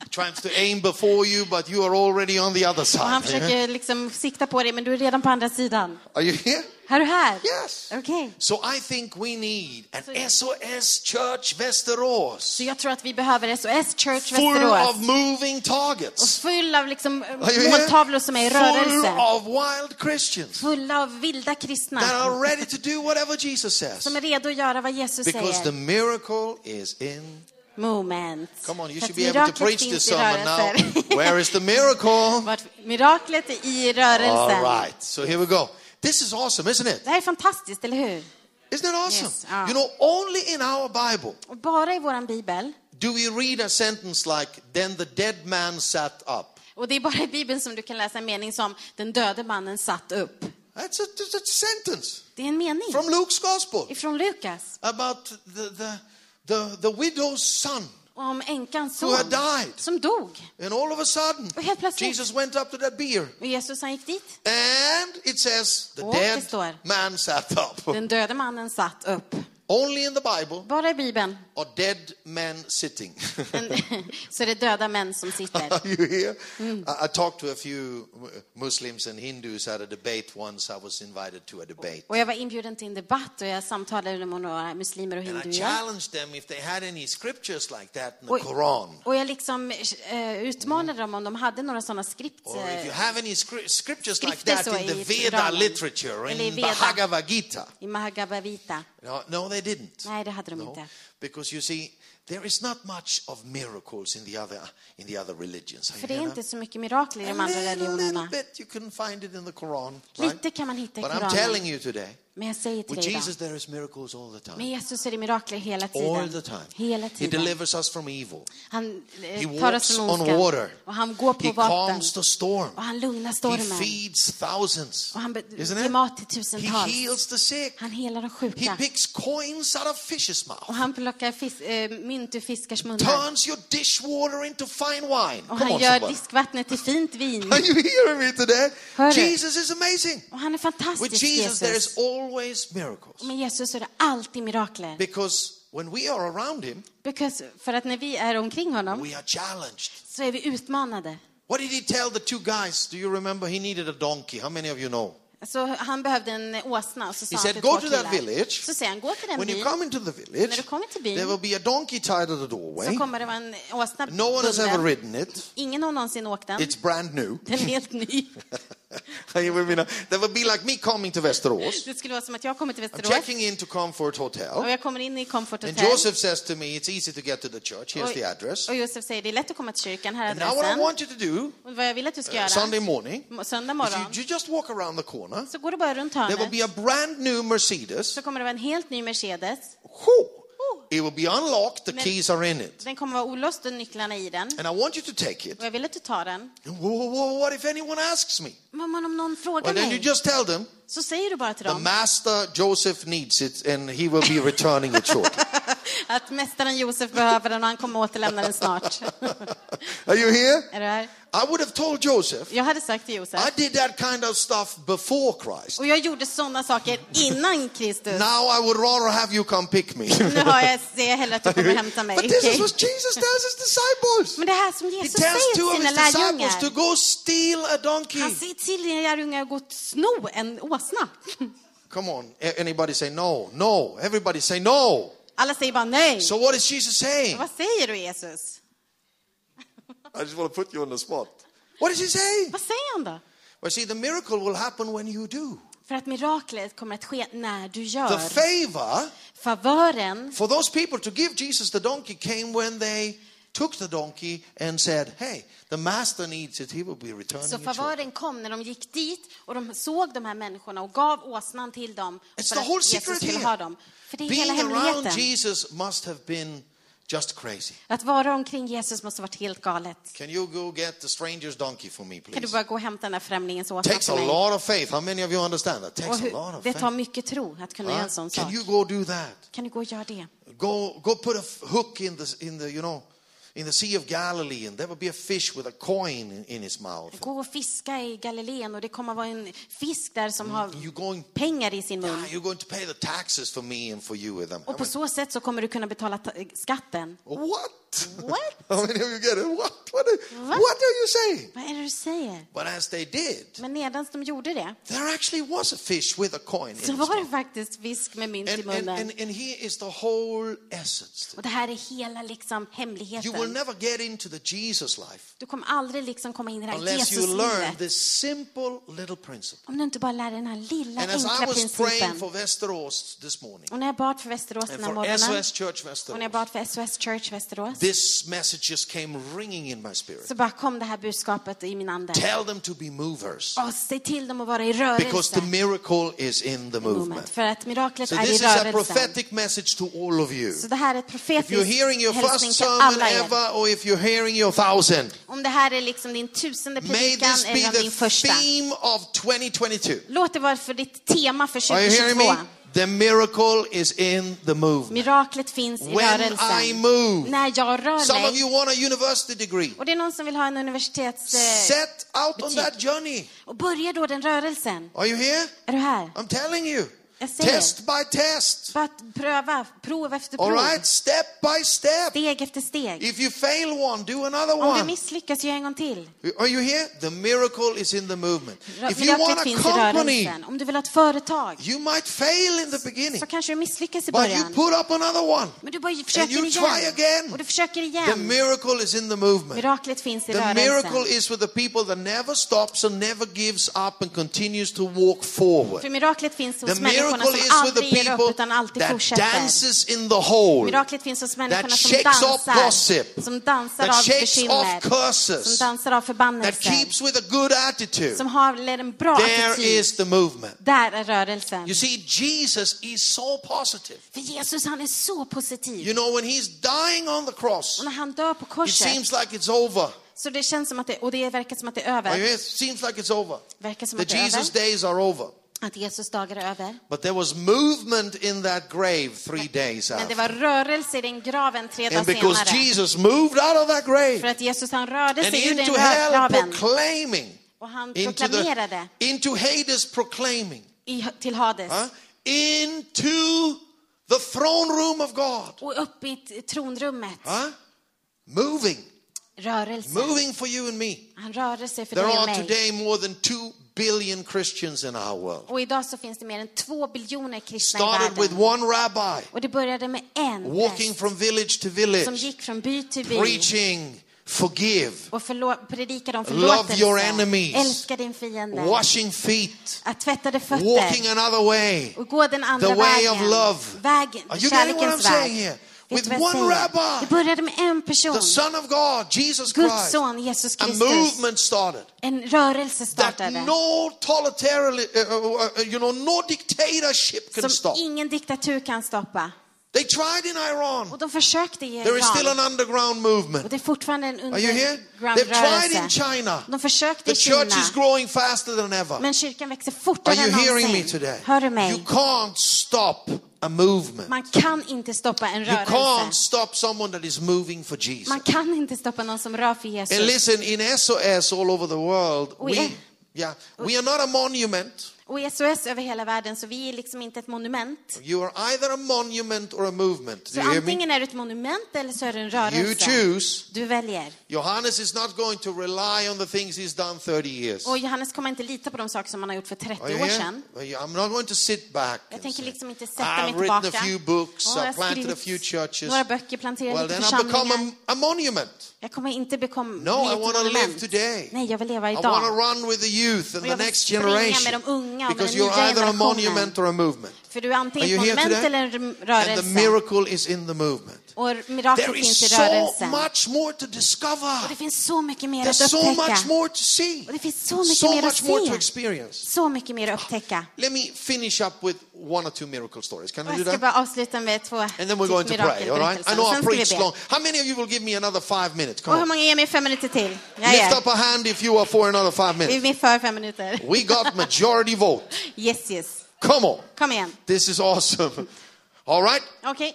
Speaker 2: He tries to aim before you, but you are already on the other
Speaker 3: Och han
Speaker 2: side.
Speaker 3: försöker liksom sikta på dig, men du är redan på andra sidan.
Speaker 2: Are you here?
Speaker 3: Är du här?
Speaker 2: Yes.
Speaker 3: Okej.
Speaker 2: So I think we need an
Speaker 3: So-
Speaker 2: SOS Church Västerås
Speaker 3: Så jag tror att vi behöver SOS Church
Speaker 2: full of
Speaker 3: Västerås.
Speaker 2: moving targets.
Speaker 3: Full av liksom eh,
Speaker 2: Are you here?
Speaker 3: måltavlor som är i
Speaker 2: Full
Speaker 3: rörelse.
Speaker 2: of wild Christians
Speaker 3: Fulla av vilda kristna.
Speaker 2: that are ready to do whatever Jesus says.
Speaker 3: Som är redo att göra vad Jesus
Speaker 2: Because the
Speaker 3: säger.
Speaker 2: miracle is in.
Speaker 3: Moment.
Speaker 2: Come on, you
Speaker 3: För
Speaker 2: should
Speaker 3: att
Speaker 2: be able to
Speaker 3: miraklet
Speaker 2: preach
Speaker 3: finns
Speaker 2: this
Speaker 3: i
Speaker 2: sermon now.
Speaker 3: rörelser.
Speaker 2: Where is the miracle?
Speaker 3: Vart- Miraklet är i rörelsen.
Speaker 2: All right, so here we go. This is awesome, isn't it?
Speaker 3: Det här är fantastiskt, eller hur?
Speaker 2: Isn't it awesome?
Speaker 3: Yes, ah.
Speaker 2: You know, only in our Bible
Speaker 3: Och bara i vår bibel,
Speaker 2: do we read a sentence like, Then the dead man sat up.
Speaker 3: och det är bara i bibeln som du kan läsa en mening som den döde mannen satt upp.
Speaker 2: That's a, that's a sentence
Speaker 3: Det är en mening
Speaker 2: from Luke's Gospel
Speaker 3: ifrån Lukas
Speaker 2: about the, the, the, the widow's son.
Speaker 3: om änkans
Speaker 2: Who
Speaker 3: son
Speaker 2: had died.
Speaker 3: som dog.
Speaker 2: And all of a sudden,
Speaker 3: Och helt plötsligt.
Speaker 2: Jesus went up to that beer.
Speaker 3: Och Jesus han gick dit.
Speaker 2: And it says, The
Speaker 3: Och det
Speaker 2: dead
Speaker 3: står.
Speaker 2: man sat up.
Speaker 3: Den döde mannen satt upp.
Speaker 2: Only in the Bible
Speaker 3: Bara i bibeln
Speaker 2: are dead men sitting.
Speaker 3: en, så är det döda män som sitter.
Speaker 2: Are you here? I, I talked to a few uh, Muslims and Hindus at a debate once. I was invited to a debate.
Speaker 3: Och jag var inbjuden till en debatt och jag samtalade med några muslimer och
Speaker 2: And I
Speaker 3: hinduer.
Speaker 2: challenged them if they had any scriptures like that in the
Speaker 3: Oj.
Speaker 2: Quran.
Speaker 3: Och jag liksom eh, utmanade dem om de hade några sådana skript.
Speaker 2: Or
Speaker 3: eh,
Speaker 2: if you have any scri- scriptures like
Speaker 3: Skrifter
Speaker 2: that
Speaker 3: så
Speaker 2: in the
Speaker 3: i
Speaker 2: Veda
Speaker 3: Koranen.
Speaker 2: literature, or in
Speaker 3: Eller i
Speaker 2: the
Speaker 3: Veda.
Speaker 2: Bhagavad Gita.
Speaker 3: I Mahagavavita.
Speaker 2: No, no, they didn't.
Speaker 3: Nej, det hade de
Speaker 2: No,
Speaker 3: inte.
Speaker 2: because you see, there is not much of miracles in the other in the other religions. Are you
Speaker 3: För det är
Speaker 2: here
Speaker 3: inte så mycket mirakler i
Speaker 2: now?
Speaker 3: de andra
Speaker 2: a little, little
Speaker 3: religionerna.
Speaker 2: bit you can find it in the Quran. Right?
Speaker 3: Lite kan man hitta i
Speaker 2: But I'm telling
Speaker 3: Koranen.
Speaker 2: you today,
Speaker 3: Men jag säger till
Speaker 2: with
Speaker 3: dig
Speaker 2: Jesus
Speaker 3: idag.
Speaker 2: there is miracles all the
Speaker 3: Med
Speaker 2: time.
Speaker 3: Jesus är det mirakler hela
Speaker 2: All the
Speaker 3: tiden.
Speaker 2: time.
Speaker 3: Hela
Speaker 2: He
Speaker 3: tiden.
Speaker 2: delivers us from evil.
Speaker 3: Han eh,
Speaker 2: He
Speaker 3: tar
Speaker 2: walks
Speaker 3: oss från
Speaker 2: on
Speaker 3: ondskan.
Speaker 2: water.
Speaker 3: Och han går på
Speaker 2: He
Speaker 3: vatten.
Speaker 2: calms the storm.
Speaker 3: Och han lugnar
Speaker 2: He
Speaker 3: stormen.
Speaker 2: feeds thousands.
Speaker 3: Och han be-
Speaker 2: Isn't
Speaker 3: ger
Speaker 2: it?
Speaker 3: mat till
Speaker 2: He
Speaker 3: tusentals.
Speaker 2: heals the sick.
Speaker 3: Han helar de
Speaker 2: He
Speaker 3: sjuka.
Speaker 2: picks coins out of fishes'
Speaker 3: Och
Speaker 2: mouth.
Speaker 3: han plockar fis- eh, mynt ur fiskars munnar.
Speaker 2: Turns your dishwater into fine wine.
Speaker 3: Och
Speaker 2: Come
Speaker 3: han
Speaker 2: on,
Speaker 3: gör
Speaker 2: somebody.
Speaker 3: diskvattnet till fint vin.
Speaker 2: Are you hearing me today?
Speaker 3: Hör det.
Speaker 2: Jesus is amazing.
Speaker 3: Och han är
Speaker 2: With
Speaker 3: fantastisk,
Speaker 2: Jesus, there is
Speaker 3: Jesus.
Speaker 2: always miracles.
Speaker 3: Med Jesus är det alltid mirakler.
Speaker 2: Because when we are around him,
Speaker 3: Because, för att när vi är omkring honom
Speaker 2: we are challenged.
Speaker 3: så är vi utmanade.
Speaker 2: What did he tell the two guys? Do you remember? He needed a donkey. How many of you know?
Speaker 3: Så han behövde en åsna och så sa
Speaker 2: He
Speaker 3: han
Speaker 2: said,
Speaker 3: till
Speaker 2: "Go
Speaker 3: två
Speaker 2: to that
Speaker 3: killar."
Speaker 2: village.
Speaker 3: Så säger han, gå till den
Speaker 2: When you
Speaker 3: byn.
Speaker 2: come into the village,
Speaker 3: När du kommer till byn-
Speaker 2: there will be a donkey tied to the
Speaker 3: Så
Speaker 2: doorway.
Speaker 3: kommer det vara en åsna
Speaker 2: No one has
Speaker 3: bunden.
Speaker 2: ever ridden it.
Speaker 3: Ingen har någonsin åkt den.
Speaker 2: It's brand new.
Speaker 3: Den är helt ny.
Speaker 2: Are you with me now? That would be like me coming to Västerås.
Speaker 3: Det skulle vara som att jag kommer till
Speaker 2: I'm
Speaker 3: Västerås
Speaker 2: checking into Comfort Hotel.
Speaker 3: och jag kommer in i Comfort
Speaker 2: And
Speaker 3: Hotel.
Speaker 2: Joseph says to me, It's easy to get to the church. Here's the address.
Speaker 3: och Josef säger, det är lätt att komma till kyrkan, här är
Speaker 2: And now, what I
Speaker 3: adressen.
Speaker 2: want you to do
Speaker 3: Och vad jag vill att du ska göra,
Speaker 2: Sunday morning
Speaker 3: Mo- söndag
Speaker 2: is
Speaker 3: morgon,
Speaker 2: you, you just walk around the corner.
Speaker 3: så går du bara runt
Speaker 2: There will
Speaker 3: hörnet,
Speaker 2: be a brand new Mercedes.
Speaker 3: så kommer det vara en helt ny Mercedes.
Speaker 2: Whew. It will be unlocked, the
Speaker 3: Men-
Speaker 2: keys are in it.
Speaker 3: Den kommer vara olåst och nycklarna i den.
Speaker 2: And I want you to take it.
Speaker 3: Och jag vill att du tar den.
Speaker 2: And wha- wha- wha- what if anyone asks me?
Speaker 3: Men om någon
Speaker 2: Well,
Speaker 3: frågar
Speaker 2: then you
Speaker 3: mig,
Speaker 2: just tell them,
Speaker 3: så säger du bara till
Speaker 2: The
Speaker 3: dem
Speaker 2: master Joseph needs it and he will be returning it shortly.
Speaker 3: att mästaren Josef behöver den och han kommer återlämna den snart.
Speaker 2: Are you here?
Speaker 3: Är du här?
Speaker 2: I would have told Joseph,
Speaker 3: Jag hade sagt till Josef,
Speaker 2: I did that kind of stuff before Christ.
Speaker 3: och jag gjorde sådana saker innan Kristus.
Speaker 2: Now I would rather have you come pick me.
Speaker 3: Nu har jag, ser jag hellre att du kommer hämta mig.
Speaker 2: But this is
Speaker 3: okej?
Speaker 2: what Jesus tells his disciples.
Speaker 3: Men det här som
Speaker 2: He
Speaker 3: Jesus
Speaker 2: tells
Speaker 3: säger
Speaker 2: two of
Speaker 3: till sina
Speaker 2: his disciples to
Speaker 3: lärjungar.
Speaker 2: go steal a donkey.
Speaker 3: Han säger till sina lärjungar att gå och sno en åsna.
Speaker 2: Come on, a- anybody say no, no. Everybody say no.
Speaker 3: Alla säger bara nej.
Speaker 2: So what is Jesus saying?
Speaker 3: Vad säger du Jesus?
Speaker 4: I just want to put you on the spot.
Speaker 2: What is he saying?
Speaker 3: Vad säger han då?
Speaker 2: Well, see, the miracle will happen when you do.
Speaker 3: För att miraklet kommer att ske när du
Speaker 2: The
Speaker 3: gör.
Speaker 2: favor
Speaker 3: Favören
Speaker 2: for those people to give Jesus the donkey came when they took the donkey and said, Hey, the master needs it, he will be returning
Speaker 3: Så
Speaker 2: it. shortly."
Speaker 3: favören kom när de gick dit och de såg de här människorna och gav åsnan till dem
Speaker 2: It's
Speaker 3: för
Speaker 2: the whole
Speaker 3: att Jesus
Speaker 2: secret
Speaker 3: skulle
Speaker 2: here.
Speaker 3: ha dem. För det är hela
Speaker 2: Being around
Speaker 3: hemligheten.
Speaker 2: Jesus must have been just crazy.
Speaker 3: Att vara omkring Jesus måste varit helt galet.
Speaker 2: Can you go get the stranger's donkey for me,
Speaker 3: Kan du
Speaker 2: please?
Speaker 3: bara gå och hämta den där främlingens åsna
Speaker 2: Takes a
Speaker 3: till mig?
Speaker 2: lot of faith. How many of you understand that?
Speaker 3: Och
Speaker 2: Takes a lot
Speaker 3: hur,
Speaker 2: of
Speaker 3: det
Speaker 2: faith.
Speaker 3: tar mycket tro att kunna göra
Speaker 2: Huh?
Speaker 3: en sån
Speaker 2: Can
Speaker 3: sak.
Speaker 2: you go do that?
Speaker 3: Kan du gå och göra det?
Speaker 2: Go, go put a f- hook in the, in the, you know, in the Sea of Galilee, and there will be a fish with a coin in, in his mouth.
Speaker 3: Gå och fiska i Galileen och det kommer vara en fisk där som har
Speaker 2: You're going,
Speaker 3: pengar i sin mun.
Speaker 2: ah, you're going to pay the taxes for me and for you with them. I
Speaker 3: Och på
Speaker 2: mean,
Speaker 3: så sätt så kommer du kunna betala ta- skatten.
Speaker 2: what?
Speaker 3: What?
Speaker 2: How many of you get it? What? What are,
Speaker 3: What?
Speaker 2: what are you saying?
Speaker 3: Vad är det du säger?
Speaker 2: But as they did,
Speaker 3: Men medan de gjorde det
Speaker 2: there actually was a fish with a coin in his
Speaker 3: så var det
Speaker 2: mouth.
Speaker 3: faktiskt fisk med mynt i
Speaker 2: And, and,
Speaker 3: munnen.
Speaker 2: and, and here is the whole essence.
Speaker 3: Och det här är hela liksom
Speaker 2: You will
Speaker 3: hemligheten.
Speaker 2: never get into the Jesus life
Speaker 3: Du kommer aldrig liksom komma in i det här
Speaker 2: unless you learn
Speaker 3: Jesuslivet
Speaker 2: this simple little principle.
Speaker 3: om du inte bara lär dig den här lilla
Speaker 2: And as I
Speaker 3: enkla
Speaker 2: was praying
Speaker 3: principen.
Speaker 2: for Västerås this morning
Speaker 3: Och när jag bad för Västerås
Speaker 2: and
Speaker 3: den här
Speaker 2: for
Speaker 3: morgonen
Speaker 2: SOS Church
Speaker 3: och när
Speaker 2: Västerås,
Speaker 3: jag bad för SOS Church Västerås
Speaker 2: this message just came ringing in my spirit.
Speaker 3: så bara kom det här budskapet i min ande.
Speaker 2: Tell them to be movers
Speaker 3: Och säg till dem att vara i
Speaker 2: because the
Speaker 3: rörelse.
Speaker 2: miracle is in the movement.
Speaker 3: För att miraklet
Speaker 2: So
Speaker 3: är i
Speaker 2: this is a
Speaker 3: rörelsen.
Speaker 2: prophetic message to all of you.
Speaker 3: Så det här är ett
Speaker 2: If you're hearing your
Speaker 3: profetiskt hälsning
Speaker 2: first
Speaker 3: till
Speaker 2: sermon
Speaker 3: alla er.
Speaker 2: ever or if you're hearing your thousand,
Speaker 3: Om det här är liksom din tusende
Speaker 2: may
Speaker 3: predikan
Speaker 2: this be
Speaker 3: eller om din
Speaker 2: the
Speaker 3: första.
Speaker 2: theme of 2022.
Speaker 3: Låt det vara för ditt tema för
Speaker 2: Are you hearing me?
Speaker 3: 2022.
Speaker 2: The miracle is in the movement.
Speaker 3: Miraklet finns i
Speaker 2: When I
Speaker 3: rörelsen.
Speaker 2: move.
Speaker 3: När jag
Speaker 2: Some
Speaker 3: rör
Speaker 2: of
Speaker 3: mig.
Speaker 2: you want a university degree.
Speaker 3: Och det är någon som vill ha en universitets... eh,
Speaker 2: Set out on
Speaker 3: betyg.
Speaker 2: that journey.
Speaker 3: Och börja då den rörelsen.
Speaker 2: Are you here?
Speaker 3: Är du här?
Speaker 2: I'm telling you.
Speaker 3: Jag säger.
Speaker 2: Test by test.
Speaker 3: För att pröva, prov efter
Speaker 2: All
Speaker 3: prov.
Speaker 2: right? Step by step.
Speaker 3: Steg efter steg.
Speaker 2: If you fail one, do another
Speaker 3: Om du
Speaker 2: one.
Speaker 3: misslyckas, gör en gång till.
Speaker 2: Are you here? The miracle is in the movement.
Speaker 3: Rö-
Speaker 2: If you
Speaker 3: Miraklet
Speaker 2: want a
Speaker 3: finns i
Speaker 2: company,
Speaker 3: rörelsen. Om du vill ha ett företag
Speaker 2: you might fail in the beginning,
Speaker 3: så kanske du misslyckas i
Speaker 2: but you
Speaker 3: början.
Speaker 2: put up another one.
Speaker 3: Men du bara försöker
Speaker 2: you try
Speaker 3: igen.
Speaker 2: again.
Speaker 3: Och du försöker
Speaker 2: The
Speaker 3: igen.
Speaker 2: miracle is in the movement.
Speaker 3: Miraklet finns i
Speaker 2: The miracle
Speaker 3: rörelsen.
Speaker 2: is for the people that never stops and never gives up and continues to walk forward.
Speaker 3: För miraklet finns hos
Speaker 2: The miracle
Speaker 3: människorna som
Speaker 2: is with the
Speaker 3: aldrig ger upp
Speaker 2: people
Speaker 3: utan alltid
Speaker 2: that
Speaker 3: fortsätter.
Speaker 2: dances in the hole,
Speaker 3: Miraklet finns hos människorna som
Speaker 2: shakes off
Speaker 3: dansar,
Speaker 2: gossip,
Speaker 3: som dansar
Speaker 2: that
Speaker 3: av
Speaker 2: shakes off
Speaker 3: bekymmer, som
Speaker 2: curses,
Speaker 3: dansar av
Speaker 2: that
Speaker 3: förbannelser,
Speaker 2: keeps with a good attitude.
Speaker 3: som har en bra
Speaker 2: There
Speaker 3: attityd.
Speaker 2: is the movement.
Speaker 3: Där är rörelsen.
Speaker 2: You see, Jesus is so positive.
Speaker 3: För Jesus, han är så positiv.
Speaker 2: You know, when he's dying on the
Speaker 3: Och
Speaker 2: cross,
Speaker 3: när han dör på
Speaker 2: it
Speaker 3: korset,
Speaker 2: seems like it's over.
Speaker 3: så det känns som att det, och det verkar som att det är
Speaker 2: Are you
Speaker 3: över.
Speaker 2: here? It seems like it's over.
Speaker 3: Verkar som
Speaker 2: The
Speaker 3: att det är över.
Speaker 2: Jesus days are over.
Speaker 3: Att Jesus dagar är över.
Speaker 2: But there was movement in that grave three days
Speaker 3: Men det
Speaker 2: after.
Speaker 3: var rörelse i den graven tre dagar
Speaker 2: And because
Speaker 3: senare.
Speaker 2: Jesus moved out of that grave
Speaker 3: För att Jesus, han rörde
Speaker 2: and
Speaker 3: sig ur den
Speaker 2: into hell
Speaker 3: graven.
Speaker 2: proclaiming,
Speaker 3: Och han
Speaker 2: into, the,
Speaker 3: proklamerade
Speaker 2: into Hades proclaiming,
Speaker 3: i, till Hades.
Speaker 2: huh? into the throne room of God.
Speaker 3: Och upp i t- tronrummet.
Speaker 2: Huh? Moving,
Speaker 3: Rörelse.
Speaker 2: moving for you and me.
Speaker 3: Han rörde sig för
Speaker 2: There
Speaker 3: dig och
Speaker 2: are
Speaker 3: mig.
Speaker 2: today more than 2 billion Christians in our world.
Speaker 3: Och idag så finns det mer än två biljoner kristna i
Speaker 2: Started with
Speaker 3: världen.
Speaker 2: one rabbi
Speaker 3: Och det började med en
Speaker 2: walking
Speaker 3: präst
Speaker 2: from village to
Speaker 3: som
Speaker 2: village,
Speaker 3: gick från by till by
Speaker 2: preaching, forgive,
Speaker 3: och förlo- predikade om
Speaker 2: Love your
Speaker 3: förlåtelse.
Speaker 2: enemies.
Speaker 3: Älska din fiende.
Speaker 2: washing feet,
Speaker 3: Att tvätta dig
Speaker 2: walking
Speaker 3: fötter.
Speaker 2: another way,
Speaker 3: Och gå den andra
Speaker 2: the way
Speaker 3: vägen.
Speaker 2: of love.
Speaker 3: Vägen,
Speaker 2: Are you getting what I'm
Speaker 3: kärlekens
Speaker 2: saying
Speaker 3: väg.
Speaker 2: here?
Speaker 3: Vet
Speaker 2: With
Speaker 3: du vad jag
Speaker 2: one
Speaker 3: säger? Det
Speaker 2: rabbi,
Speaker 3: började med en person.
Speaker 2: the Son of God, Jesus
Speaker 3: Guds
Speaker 2: Christ,
Speaker 3: son Jesus
Speaker 2: a
Speaker 3: Kristus.
Speaker 2: movement started.
Speaker 3: En rörelse
Speaker 2: That
Speaker 3: startade.
Speaker 2: no uh, totalitarian, uh, uh, uh, you know, no dictatorship can
Speaker 3: Som
Speaker 2: stop.
Speaker 3: ingen diktatur kan stoppa.
Speaker 2: They tried in Iran.
Speaker 3: Och de försökte i
Speaker 2: There is still
Speaker 3: Iran.
Speaker 2: an underground
Speaker 3: Och
Speaker 2: movement.
Speaker 3: det är fortfarande en
Speaker 2: Are you here?
Speaker 3: underground uh,
Speaker 2: They've tried in
Speaker 3: rörelse.
Speaker 2: China.
Speaker 3: De försökte
Speaker 2: The
Speaker 3: i Kina.
Speaker 2: church is growing faster than ever.
Speaker 3: Men kyrkan växer fortare
Speaker 2: Are you
Speaker 3: än
Speaker 2: hearing me
Speaker 3: någonsin.
Speaker 2: today?
Speaker 3: Hör du
Speaker 2: You
Speaker 3: mig?
Speaker 2: can't stop a movement.
Speaker 3: Man kan inte stoppa en
Speaker 2: You can't
Speaker 3: rörelse.
Speaker 2: stop someone that is moving for
Speaker 3: Man
Speaker 2: Jesus.
Speaker 3: kan inte stoppa någon som rör för
Speaker 2: And
Speaker 3: Jesus.
Speaker 2: listen, in SOS all over the world,
Speaker 3: We-
Speaker 2: we, Oh, yeah, we are not a monument.
Speaker 3: Och i SOS över hela världen, så vi är liksom inte ett monument.
Speaker 2: You are either a monument or a movement.
Speaker 3: Så
Speaker 2: Do you hear me?
Speaker 3: antingen är du ett monument eller så är du en
Speaker 2: You
Speaker 3: rörelse.
Speaker 2: choose.
Speaker 3: Du väljer.
Speaker 2: Johannes is not going to rely on the things he's done 30 years.
Speaker 3: Och Johannes kommer inte lita på de saker som han har gjort för 30
Speaker 2: Are you
Speaker 3: år
Speaker 2: here?
Speaker 3: sedan.
Speaker 2: Are you- I'm not going to sit back.
Speaker 3: Jag
Speaker 2: and
Speaker 3: tänker
Speaker 2: say,
Speaker 3: liksom inte sätta mig
Speaker 2: I've written a
Speaker 3: tillbaka.
Speaker 2: few books,
Speaker 3: Åh, jag
Speaker 2: I've
Speaker 3: har
Speaker 2: planted a few
Speaker 3: skrivit
Speaker 2: churches.
Speaker 3: Några böcker, planterat
Speaker 2: Well,
Speaker 3: lite
Speaker 2: then I become
Speaker 3: församlingar.
Speaker 2: a, a monument.
Speaker 3: Jag kommer inte bekom-
Speaker 2: No,
Speaker 3: bli
Speaker 2: I
Speaker 3: ett
Speaker 2: want to live
Speaker 3: monument.
Speaker 2: today.
Speaker 3: Nej, jag vill leva
Speaker 2: I want to
Speaker 3: idag.
Speaker 2: run with the youth and
Speaker 3: Och
Speaker 2: the
Speaker 3: jag vill
Speaker 2: next
Speaker 3: springa med
Speaker 2: generation.
Speaker 3: de unga och med
Speaker 2: Because
Speaker 3: den
Speaker 2: you're
Speaker 3: nya
Speaker 2: either a
Speaker 3: generationen.
Speaker 2: monument or a movement.
Speaker 3: För du är
Speaker 2: Are
Speaker 3: antingen
Speaker 2: you
Speaker 3: ett
Speaker 2: here
Speaker 3: monument
Speaker 2: today?
Speaker 3: eller en
Speaker 2: And the
Speaker 3: rörelse.
Speaker 2: miracle is in the movement.
Speaker 3: Och
Speaker 2: There
Speaker 3: miraklet
Speaker 2: is
Speaker 3: finns i
Speaker 2: so
Speaker 3: rörelsen.
Speaker 2: much more to discover.
Speaker 3: Och det finns så mycket mer att
Speaker 2: There's so much
Speaker 3: upptäcka.
Speaker 2: more to see.
Speaker 3: Och det finns så mycket
Speaker 2: So
Speaker 3: mer att
Speaker 2: much more to
Speaker 3: se.
Speaker 2: experience.
Speaker 3: Så mycket mer att upptäcka.
Speaker 2: Let me finish up with one or two miracle stories. Can
Speaker 3: Och
Speaker 2: I do
Speaker 3: jag ska
Speaker 2: that?
Speaker 3: bara avsluta med två typ
Speaker 2: And then we're going to pray, all right? I
Speaker 3: mirakelberättelser.
Speaker 2: know
Speaker 3: Och
Speaker 2: I
Speaker 3: sen ska vi
Speaker 2: preached long.
Speaker 3: be.
Speaker 2: How many of you will give me another five minutes?
Speaker 3: Och hur
Speaker 2: Oh, Come on.
Speaker 3: många ger mig fem minuter till? Jag
Speaker 2: Lift
Speaker 3: är.
Speaker 2: up a hand if you are for another five
Speaker 3: Vi
Speaker 2: minutes.
Speaker 3: är för fem minuter.
Speaker 2: We got majority vote.
Speaker 3: Yes, yes.
Speaker 2: Come on.
Speaker 3: Kom igen.
Speaker 2: This is awesome. All right?
Speaker 3: Okej.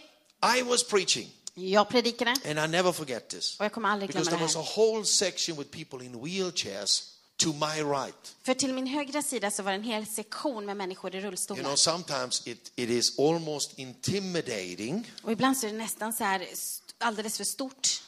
Speaker 2: I was preaching,
Speaker 3: Jag predikade
Speaker 2: and I never forget this.
Speaker 3: och jag kommer aldrig
Speaker 2: Because
Speaker 3: glömma det
Speaker 2: there was a
Speaker 3: här.
Speaker 2: whole section with people in wheelchairs to my right.
Speaker 3: För till min högra sida så var det en hel sektion med människor i
Speaker 2: You
Speaker 3: rullstolar.
Speaker 2: know, sometimes it, it is almost intimidating
Speaker 3: Och ibland så är det nästan så här st- alldeles för stort.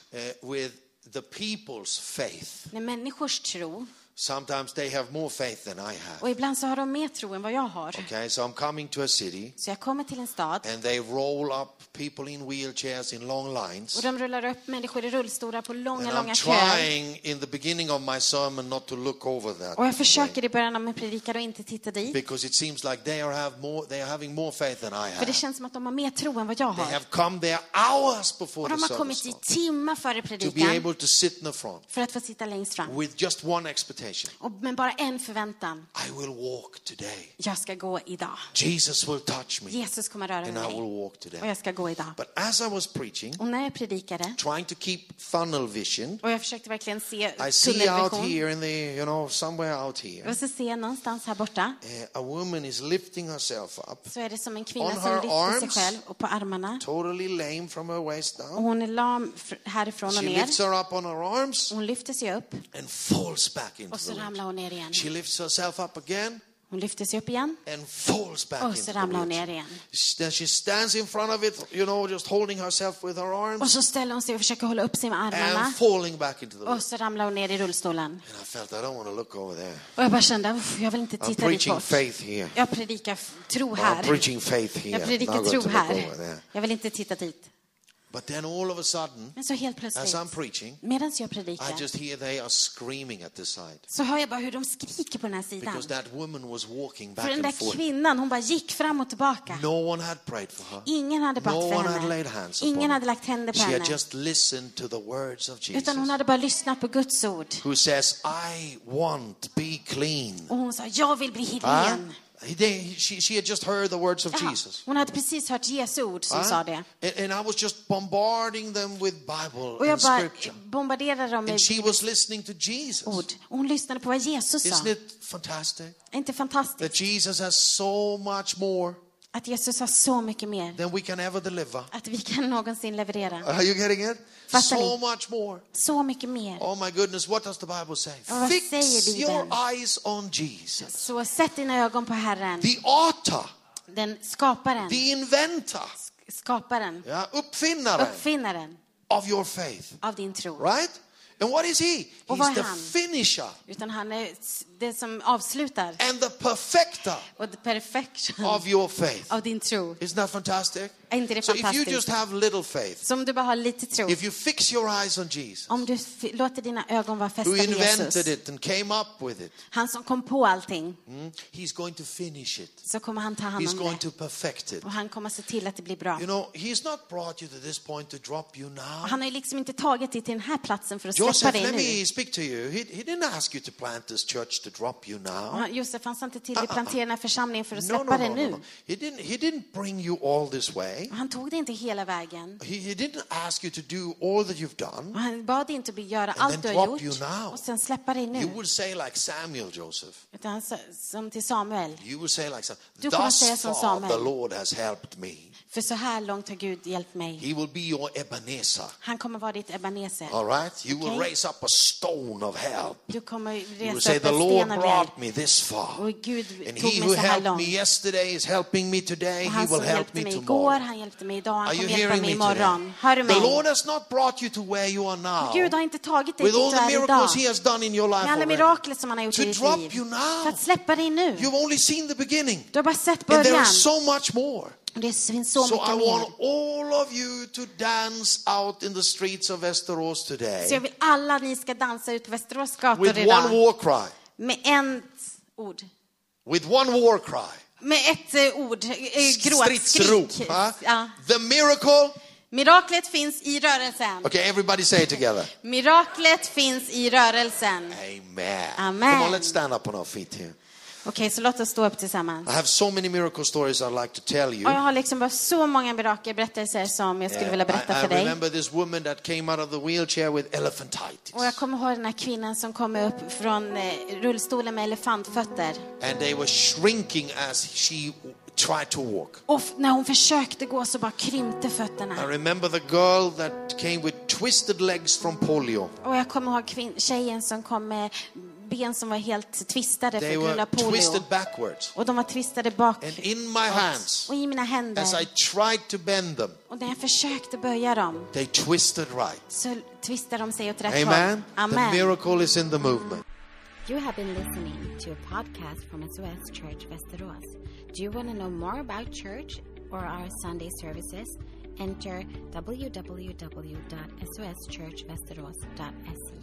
Speaker 2: uh, with the people's faith.
Speaker 3: När människors tro,
Speaker 2: Sometimes they have more faith than I have.
Speaker 3: och ibland så har de mer tro än vad jag har.
Speaker 2: Okay, so I'm coming to a city
Speaker 3: Så jag kommer till en stad
Speaker 2: and they roll up people in wheelchairs in long
Speaker 3: och
Speaker 2: lines.
Speaker 3: de rullar upp människor i rullstolar på
Speaker 2: And
Speaker 3: långa,
Speaker 2: I'm
Speaker 3: långa köer.
Speaker 2: trying in the beginning of my sermon not to look over
Speaker 3: Och jag
Speaker 2: that. way,
Speaker 3: försöker i början av min predikan att inte titta dit.
Speaker 2: Because it seems like they are have more they are having more faith than I
Speaker 3: För det
Speaker 2: have.
Speaker 3: känns som att de har mer tro än vad jag
Speaker 2: They
Speaker 3: har.
Speaker 2: have come there hours
Speaker 3: Och
Speaker 2: before the
Speaker 3: de har
Speaker 2: service
Speaker 3: kommit i
Speaker 2: starts
Speaker 3: timmar före
Speaker 2: to be
Speaker 3: predikan
Speaker 2: able to sit in the front
Speaker 3: för att få sitta längst fram.
Speaker 2: with just one expectation.
Speaker 3: Och, men bara en förväntan.
Speaker 2: I will walk today.
Speaker 3: Jag ska gå idag.
Speaker 2: Jesus will touch me
Speaker 3: Jesus kommer röra vid
Speaker 2: and I will
Speaker 3: mig.
Speaker 2: walk
Speaker 3: Och
Speaker 2: today.
Speaker 3: jag ska gå idag.
Speaker 2: But as I was preaching,
Speaker 3: Och när jag predikade,
Speaker 2: trying to keep funnel vision.
Speaker 3: och jag försökte verkligen se
Speaker 2: I see out
Speaker 3: tunnelvision.
Speaker 2: here in the, you know, somewhere out here,
Speaker 3: Och så ser jag någonstans här borta,
Speaker 2: uh, a woman is lifting herself up,
Speaker 3: så är det som en
Speaker 2: On
Speaker 3: kvinna
Speaker 2: her
Speaker 3: som lyfter sig
Speaker 2: arms.
Speaker 3: själv och på armarna.
Speaker 2: totally lame from her waist
Speaker 3: Och
Speaker 2: down.
Speaker 3: hon är lam fr- härifrån och
Speaker 2: She
Speaker 3: ner.
Speaker 2: lifts her up on her arms
Speaker 3: Hon lyfter sig upp
Speaker 2: and falls back into
Speaker 3: och så
Speaker 2: the
Speaker 3: ramlar
Speaker 2: wheelchair.
Speaker 3: hon ner igen.
Speaker 2: She lifts herself up again
Speaker 3: Hon lyfter sig upp igen
Speaker 2: and falls back
Speaker 3: och
Speaker 2: into
Speaker 3: så
Speaker 2: the
Speaker 3: ramlar hon
Speaker 2: wheelchair.
Speaker 3: ner igen.
Speaker 2: She- Then she stands in front of it, you know, just holding herself with her
Speaker 3: Och
Speaker 2: arms
Speaker 3: så ställer hon sig och försöker hålla upp sig med armarna
Speaker 2: and falling back into the
Speaker 3: och
Speaker 2: wheelchair.
Speaker 3: så ramlar hon ner i rullstolen.
Speaker 2: And I felt I don't want to look over there.
Speaker 3: Och jag bara kände, "Uff, jag vill inte
Speaker 2: I'm
Speaker 3: titta dit
Speaker 2: preaching
Speaker 3: bort.
Speaker 2: faith here.
Speaker 3: Jag predikar f- tro
Speaker 2: I'm
Speaker 3: här.
Speaker 2: preaching faith here.
Speaker 3: Jag
Speaker 2: Now
Speaker 3: predikar
Speaker 2: I'm going
Speaker 3: tro
Speaker 2: to look over
Speaker 3: här.
Speaker 2: there.
Speaker 3: Jag vill inte titta dit.
Speaker 2: But then all of a sudden,
Speaker 3: Men så helt
Speaker 2: As
Speaker 3: plötsligt,
Speaker 2: I'm preaching,
Speaker 3: medan jag
Speaker 2: I
Speaker 3: predikar,
Speaker 2: just hear they are screaming at the side
Speaker 3: så hör jag bara hur de skriker på den här sidan.
Speaker 2: because that woman was walking
Speaker 3: För
Speaker 2: back
Speaker 3: den
Speaker 2: and
Speaker 3: där
Speaker 2: forth.
Speaker 3: kvinnan, hon bara gick fram och tillbaka.
Speaker 2: No one had prayed for her.
Speaker 3: Ingen hade bett
Speaker 2: No
Speaker 3: för
Speaker 2: one had laid
Speaker 3: henne.
Speaker 2: hands upon
Speaker 3: Ingen hade
Speaker 2: her.
Speaker 3: lagt händer på
Speaker 2: She had
Speaker 3: henne.
Speaker 2: just listened to the words of
Speaker 3: Utan hon
Speaker 2: Jesus,
Speaker 3: hade bara lyssnat på Guds ord.
Speaker 2: who says, "I want be clean."
Speaker 3: Och hon sa, jag vill bli
Speaker 2: Huh?
Speaker 3: helen.
Speaker 2: They- She, she had just heard the words of
Speaker 3: Jaha,
Speaker 2: Ah, Jesus. Ah,
Speaker 3: Hon hade precis hört Jesu ord som
Speaker 2: Huh?
Speaker 3: sa det.
Speaker 2: And, and I was just bombarding them with Bible
Speaker 3: Och jag
Speaker 2: and
Speaker 3: bara
Speaker 2: Scripture,
Speaker 3: bombarderade dem med
Speaker 2: and she was listening to Jesus.
Speaker 3: ord. Och hon lyssnade på vad Jesus sa.
Speaker 2: Isn't it fantastic
Speaker 3: Är inte
Speaker 2: that
Speaker 3: fantastiskt
Speaker 2: Jesus has so much more
Speaker 3: att Jesus har så mycket mer?
Speaker 2: than we can ever deliver?
Speaker 3: Att vi kan någonsin leverera.
Speaker 2: Are you getting it?
Speaker 3: Fattar
Speaker 2: So
Speaker 3: ni?
Speaker 2: much more.
Speaker 3: Så mycket mer.
Speaker 2: Oh my goodness, what does the Bible say?
Speaker 3: Ja, vad
Speaker 2: Fix
Speaker 3: säger Bibeln?
Speaker 2: your eyes on Jesus,
Speaker 3: Så sätt dina ögon på Herren,
Speaker 2: the author,
Speaker 3: den skaparen,
Speaker 2: the inventor,
Speaker 3: skaparen,
Speaker 2: ja, uppfinnaren
Speaker 3: uppfinnaren
Speaker 2: of your faith,
Speaker 3: av din tro.
Speaker 2: right? And what is he?
Speaker 3: Och vad
Speaker 2: He's
Speaker 3: är
Speaker 2: the
Speaker 3: han?
Speaker 2: finisher
Speaker 3: Utan han är s- det som avslutar
Speaker 2: and the perfecter
Speaker 3: och the perfection
Speaker 2: of your faith.
Speaker 3: av din tro.
Speaker 2: Isn't that Oh. fantastic?
Speaker 3: Är inte det
Speaker 2: So if you just
Speaker 3: fantastiskt?
Speaker 2: have little faith,
Speaker 3: Så om du bara har lite tro,
Speaker 2: if you fix your eyes on Jesus,
Speaker 3: om du f- låter dina ögon vara fästa
Speaker 2: who
Speaker 3: vid Jesus,
Speaker 2: invented it and came up with it,
Speaker 3: han som kom på allting,
Speaker 2: hmm, he's going to finish it.
Speaker 3: så kommer han ta hand
Speaker 2: He's
Speaker 3: om
Speaker 2: going
Speaker 3: det.
Speaker 2: to perfect it.
Speaker 3: Och han kommer se till att det blir bra.
Speaker 2: You know, he's not brought you to this point to drop you
Speaker 3: Och
Speaker 2: now.
Speaker 3: Han har ju liksom inte tagit dig till den här platsen för att släppa
Speaker 2: Joseph,
Speaker 3: dig
Speaker 2: let
Speaker 3: nu.
Speaker 2: me speak to you. He, he didn't ask you to plant this church to drop you
Speaker 3: Och
Speaker 2: now.
Speaker 3: han- Josef, han sa inte till dig plantera den här församlingen för att
Speaker 2: Uh-uh. No, no,
Speaker 3: släppa dig
Speaker 2: no, no,
Speaker 3: nu.
Speaker 2: no. He didn't, he didn't bring you all this way. way.
Speaker 3: Och Han tog det inte hela vägen.
Speaker 2: He, he didn't ask you to do all that you've done.
Speaker 3: Och han bad inte be- göra
Speaker 2: then
Speaker 3: allt du
Speaker 2: drop
Speaker 3: har
Speaker 2: you now.
Speaker 3: gjort och sen släppa dig
Speaker 2: You
Speaker 3: nu.
Speaker 2: will say like Samuel, Joseph.
Speaker 3: Utan han sa, som till Samuel,
Speaker 2: You will say like Samuel.
Speaker 3: Du kommer säga
Speaker 2: Thus
Speaker 3: som
Speaker 2: far
Speaker 3: Samuel.
Speaker 2: the Lord has helped me.
Speaker 3: för så här långt har Gud hjälpt mig.
Speaker 2: He will be your Ebenezer.
Speaker 3: Han kommer vara ditt Ebenezer.
Speaker 2: All right? You will
Speaker 3: Okay.
Speaker 2: raise up a stone of help.
Speaker 3: Du kommer
Speaker 2: You will
Speaker 3: resa
Speaker 2: say,
Speaker 3: upp
Speaker 2: The
Speaker 3: en
Speaker 2: Lord
Speaker 3: sten av hjälp.
Speaker 2: brought me this far.
Speaker 3: Och Gud
Speaker 2: And
Speaker 3: tog
Speaker 2: he
Speaker 3: mig
Speaker 2: who
Speaker 3: så här
Speaker 2: helped me
Speaker 3: långt.
Speaker 2: yesterday is helping me today.
Speaker 3: Och
Speaker 2: He
Speaker 3: han
Speaker 2: will
Speaker 3: som
Speaker 2: help
Speaker 3: hjpte
Speaker 2: me
Speaker 3: mig igår,
Speaker 2: tomorrow.
Speaker 3: han hjälpte mig idag, han
Speaker 2: Are you
Speaker 3: kommer hjälpa
Speaker 2: hearing
Speaker 3: mig
Speaker 2: me
Speaker 3: imorgon.
Speaker 2: today?
Speaker 3: Hör du
Speaker 2: The Lord
Speaker 3: mig?
Speaker 2: has not brought you to where you are now.
Speaker 3: Gud har inte tagit dig
Speaker 2: With all
Speaker 3: dit
Speaker 2: the
Speaker 3: du är idag.
Speaker 2: miracles he has done in your life
Speaker 3: Med alla
Speaker 2: already.
Speaker 3: mirakler som han har gjort
Speaker 2: To
Speaker 3: i ditt
Speaker 2: drop
Speaker 3: liv.
Speaker 2: you now.
Speaker 3: För att släppa dig nu.
Speaker 2: You've only seen the beginning.
Speaker 3: Du har bara sett
Speaker 2: And there
Speaker 3: början.
Speaker 2: is so much more.
Speaker 3: Och det finns så
Speaker 2: So I
Speaker 3: mycket mer.
Speaker 2: want all of you to dance out in the streets of Västerås
Speaker 3: Så jag
Speaker 2: today
Speaker 3: vill alla ni ska dansa ut på Västerås gator
Speaker 2: with one
Speaker 3: idag.
Speaker 2: war cry.
Speaker 3: Med ett ord.
Speaker 2: With one war cry.
Speaker 3: Med ett eh, ord. Eh, Gråtskrik.
Speaker 2: Stridsrop. huh?
Speaker 3: Ja.
Speaker 2: The miracle.
Speaker 3: Miraklet finns i rörelsen.
Speaker 2: Okay, everybody say it together.
Speaker 3: Miraklet finns i rörelsen.
Speaker 2: Amen.
Speaker 3: Amen.
Speaker 2: Come on, let's stand up on our feet here.
Speaker 3: Okej, så låt oss stå upp tillsammans.
Speaker 2: I have so many miracle stories I'd like to tell you.
Speaker 3: Och jag har liksom bara så många mirakelberättelser som jag skulle vilja
Speaker 2: Eh, I,
Speaker 3: berätta
Speaker 2: I
Speaker 3: för dig.
Speaker 2: remember this woman that came out of the wheelchair with elephantitis.
Speaker 3: Och jag kommer ihåg den här kvinnan som kom upp från eh, rullstolen med elefantfötter.
Speaker 2: And they were shrinking as she w- tried to walk.
Speaker 3: Och f- när hon försökte gå så bara krympte
Speaker 2: I
Speaker 3: fötterna.
Speaker 2: remember the girl that came with twisted legs from polio.
Speaker 3: Och jag kommer ihåg kvin- tjejen som kom med ben som var helt tvistade för
Speaker 2: They
Speaker 3: på grund
Speaker 2: were
Speaker 3: av polio.
Speaker 2: twisted backwards.
Speaker 3: Och de var tvistade bak.
Speaker 2: And in my hands,
Speaker 3: Och i mina
Speaker 2: as I
Speaker 3: händer.
Speaker 2: tried to bend them,
Speaker 3: Och när jag försökte böja dem
Speaker 2: they twisted right.
Speaker 3: så twistade de sig åt rätt håll.
Speaker 2: Amen. The
Speaker 3: Amen.
Speaker 2: miracle is in the movement.
Speaker 1: You have been listening to a podcast from SOS Church Vesteros. Do you want to know more about church or our Sunday services? Enter www.soschurchvesteros.se.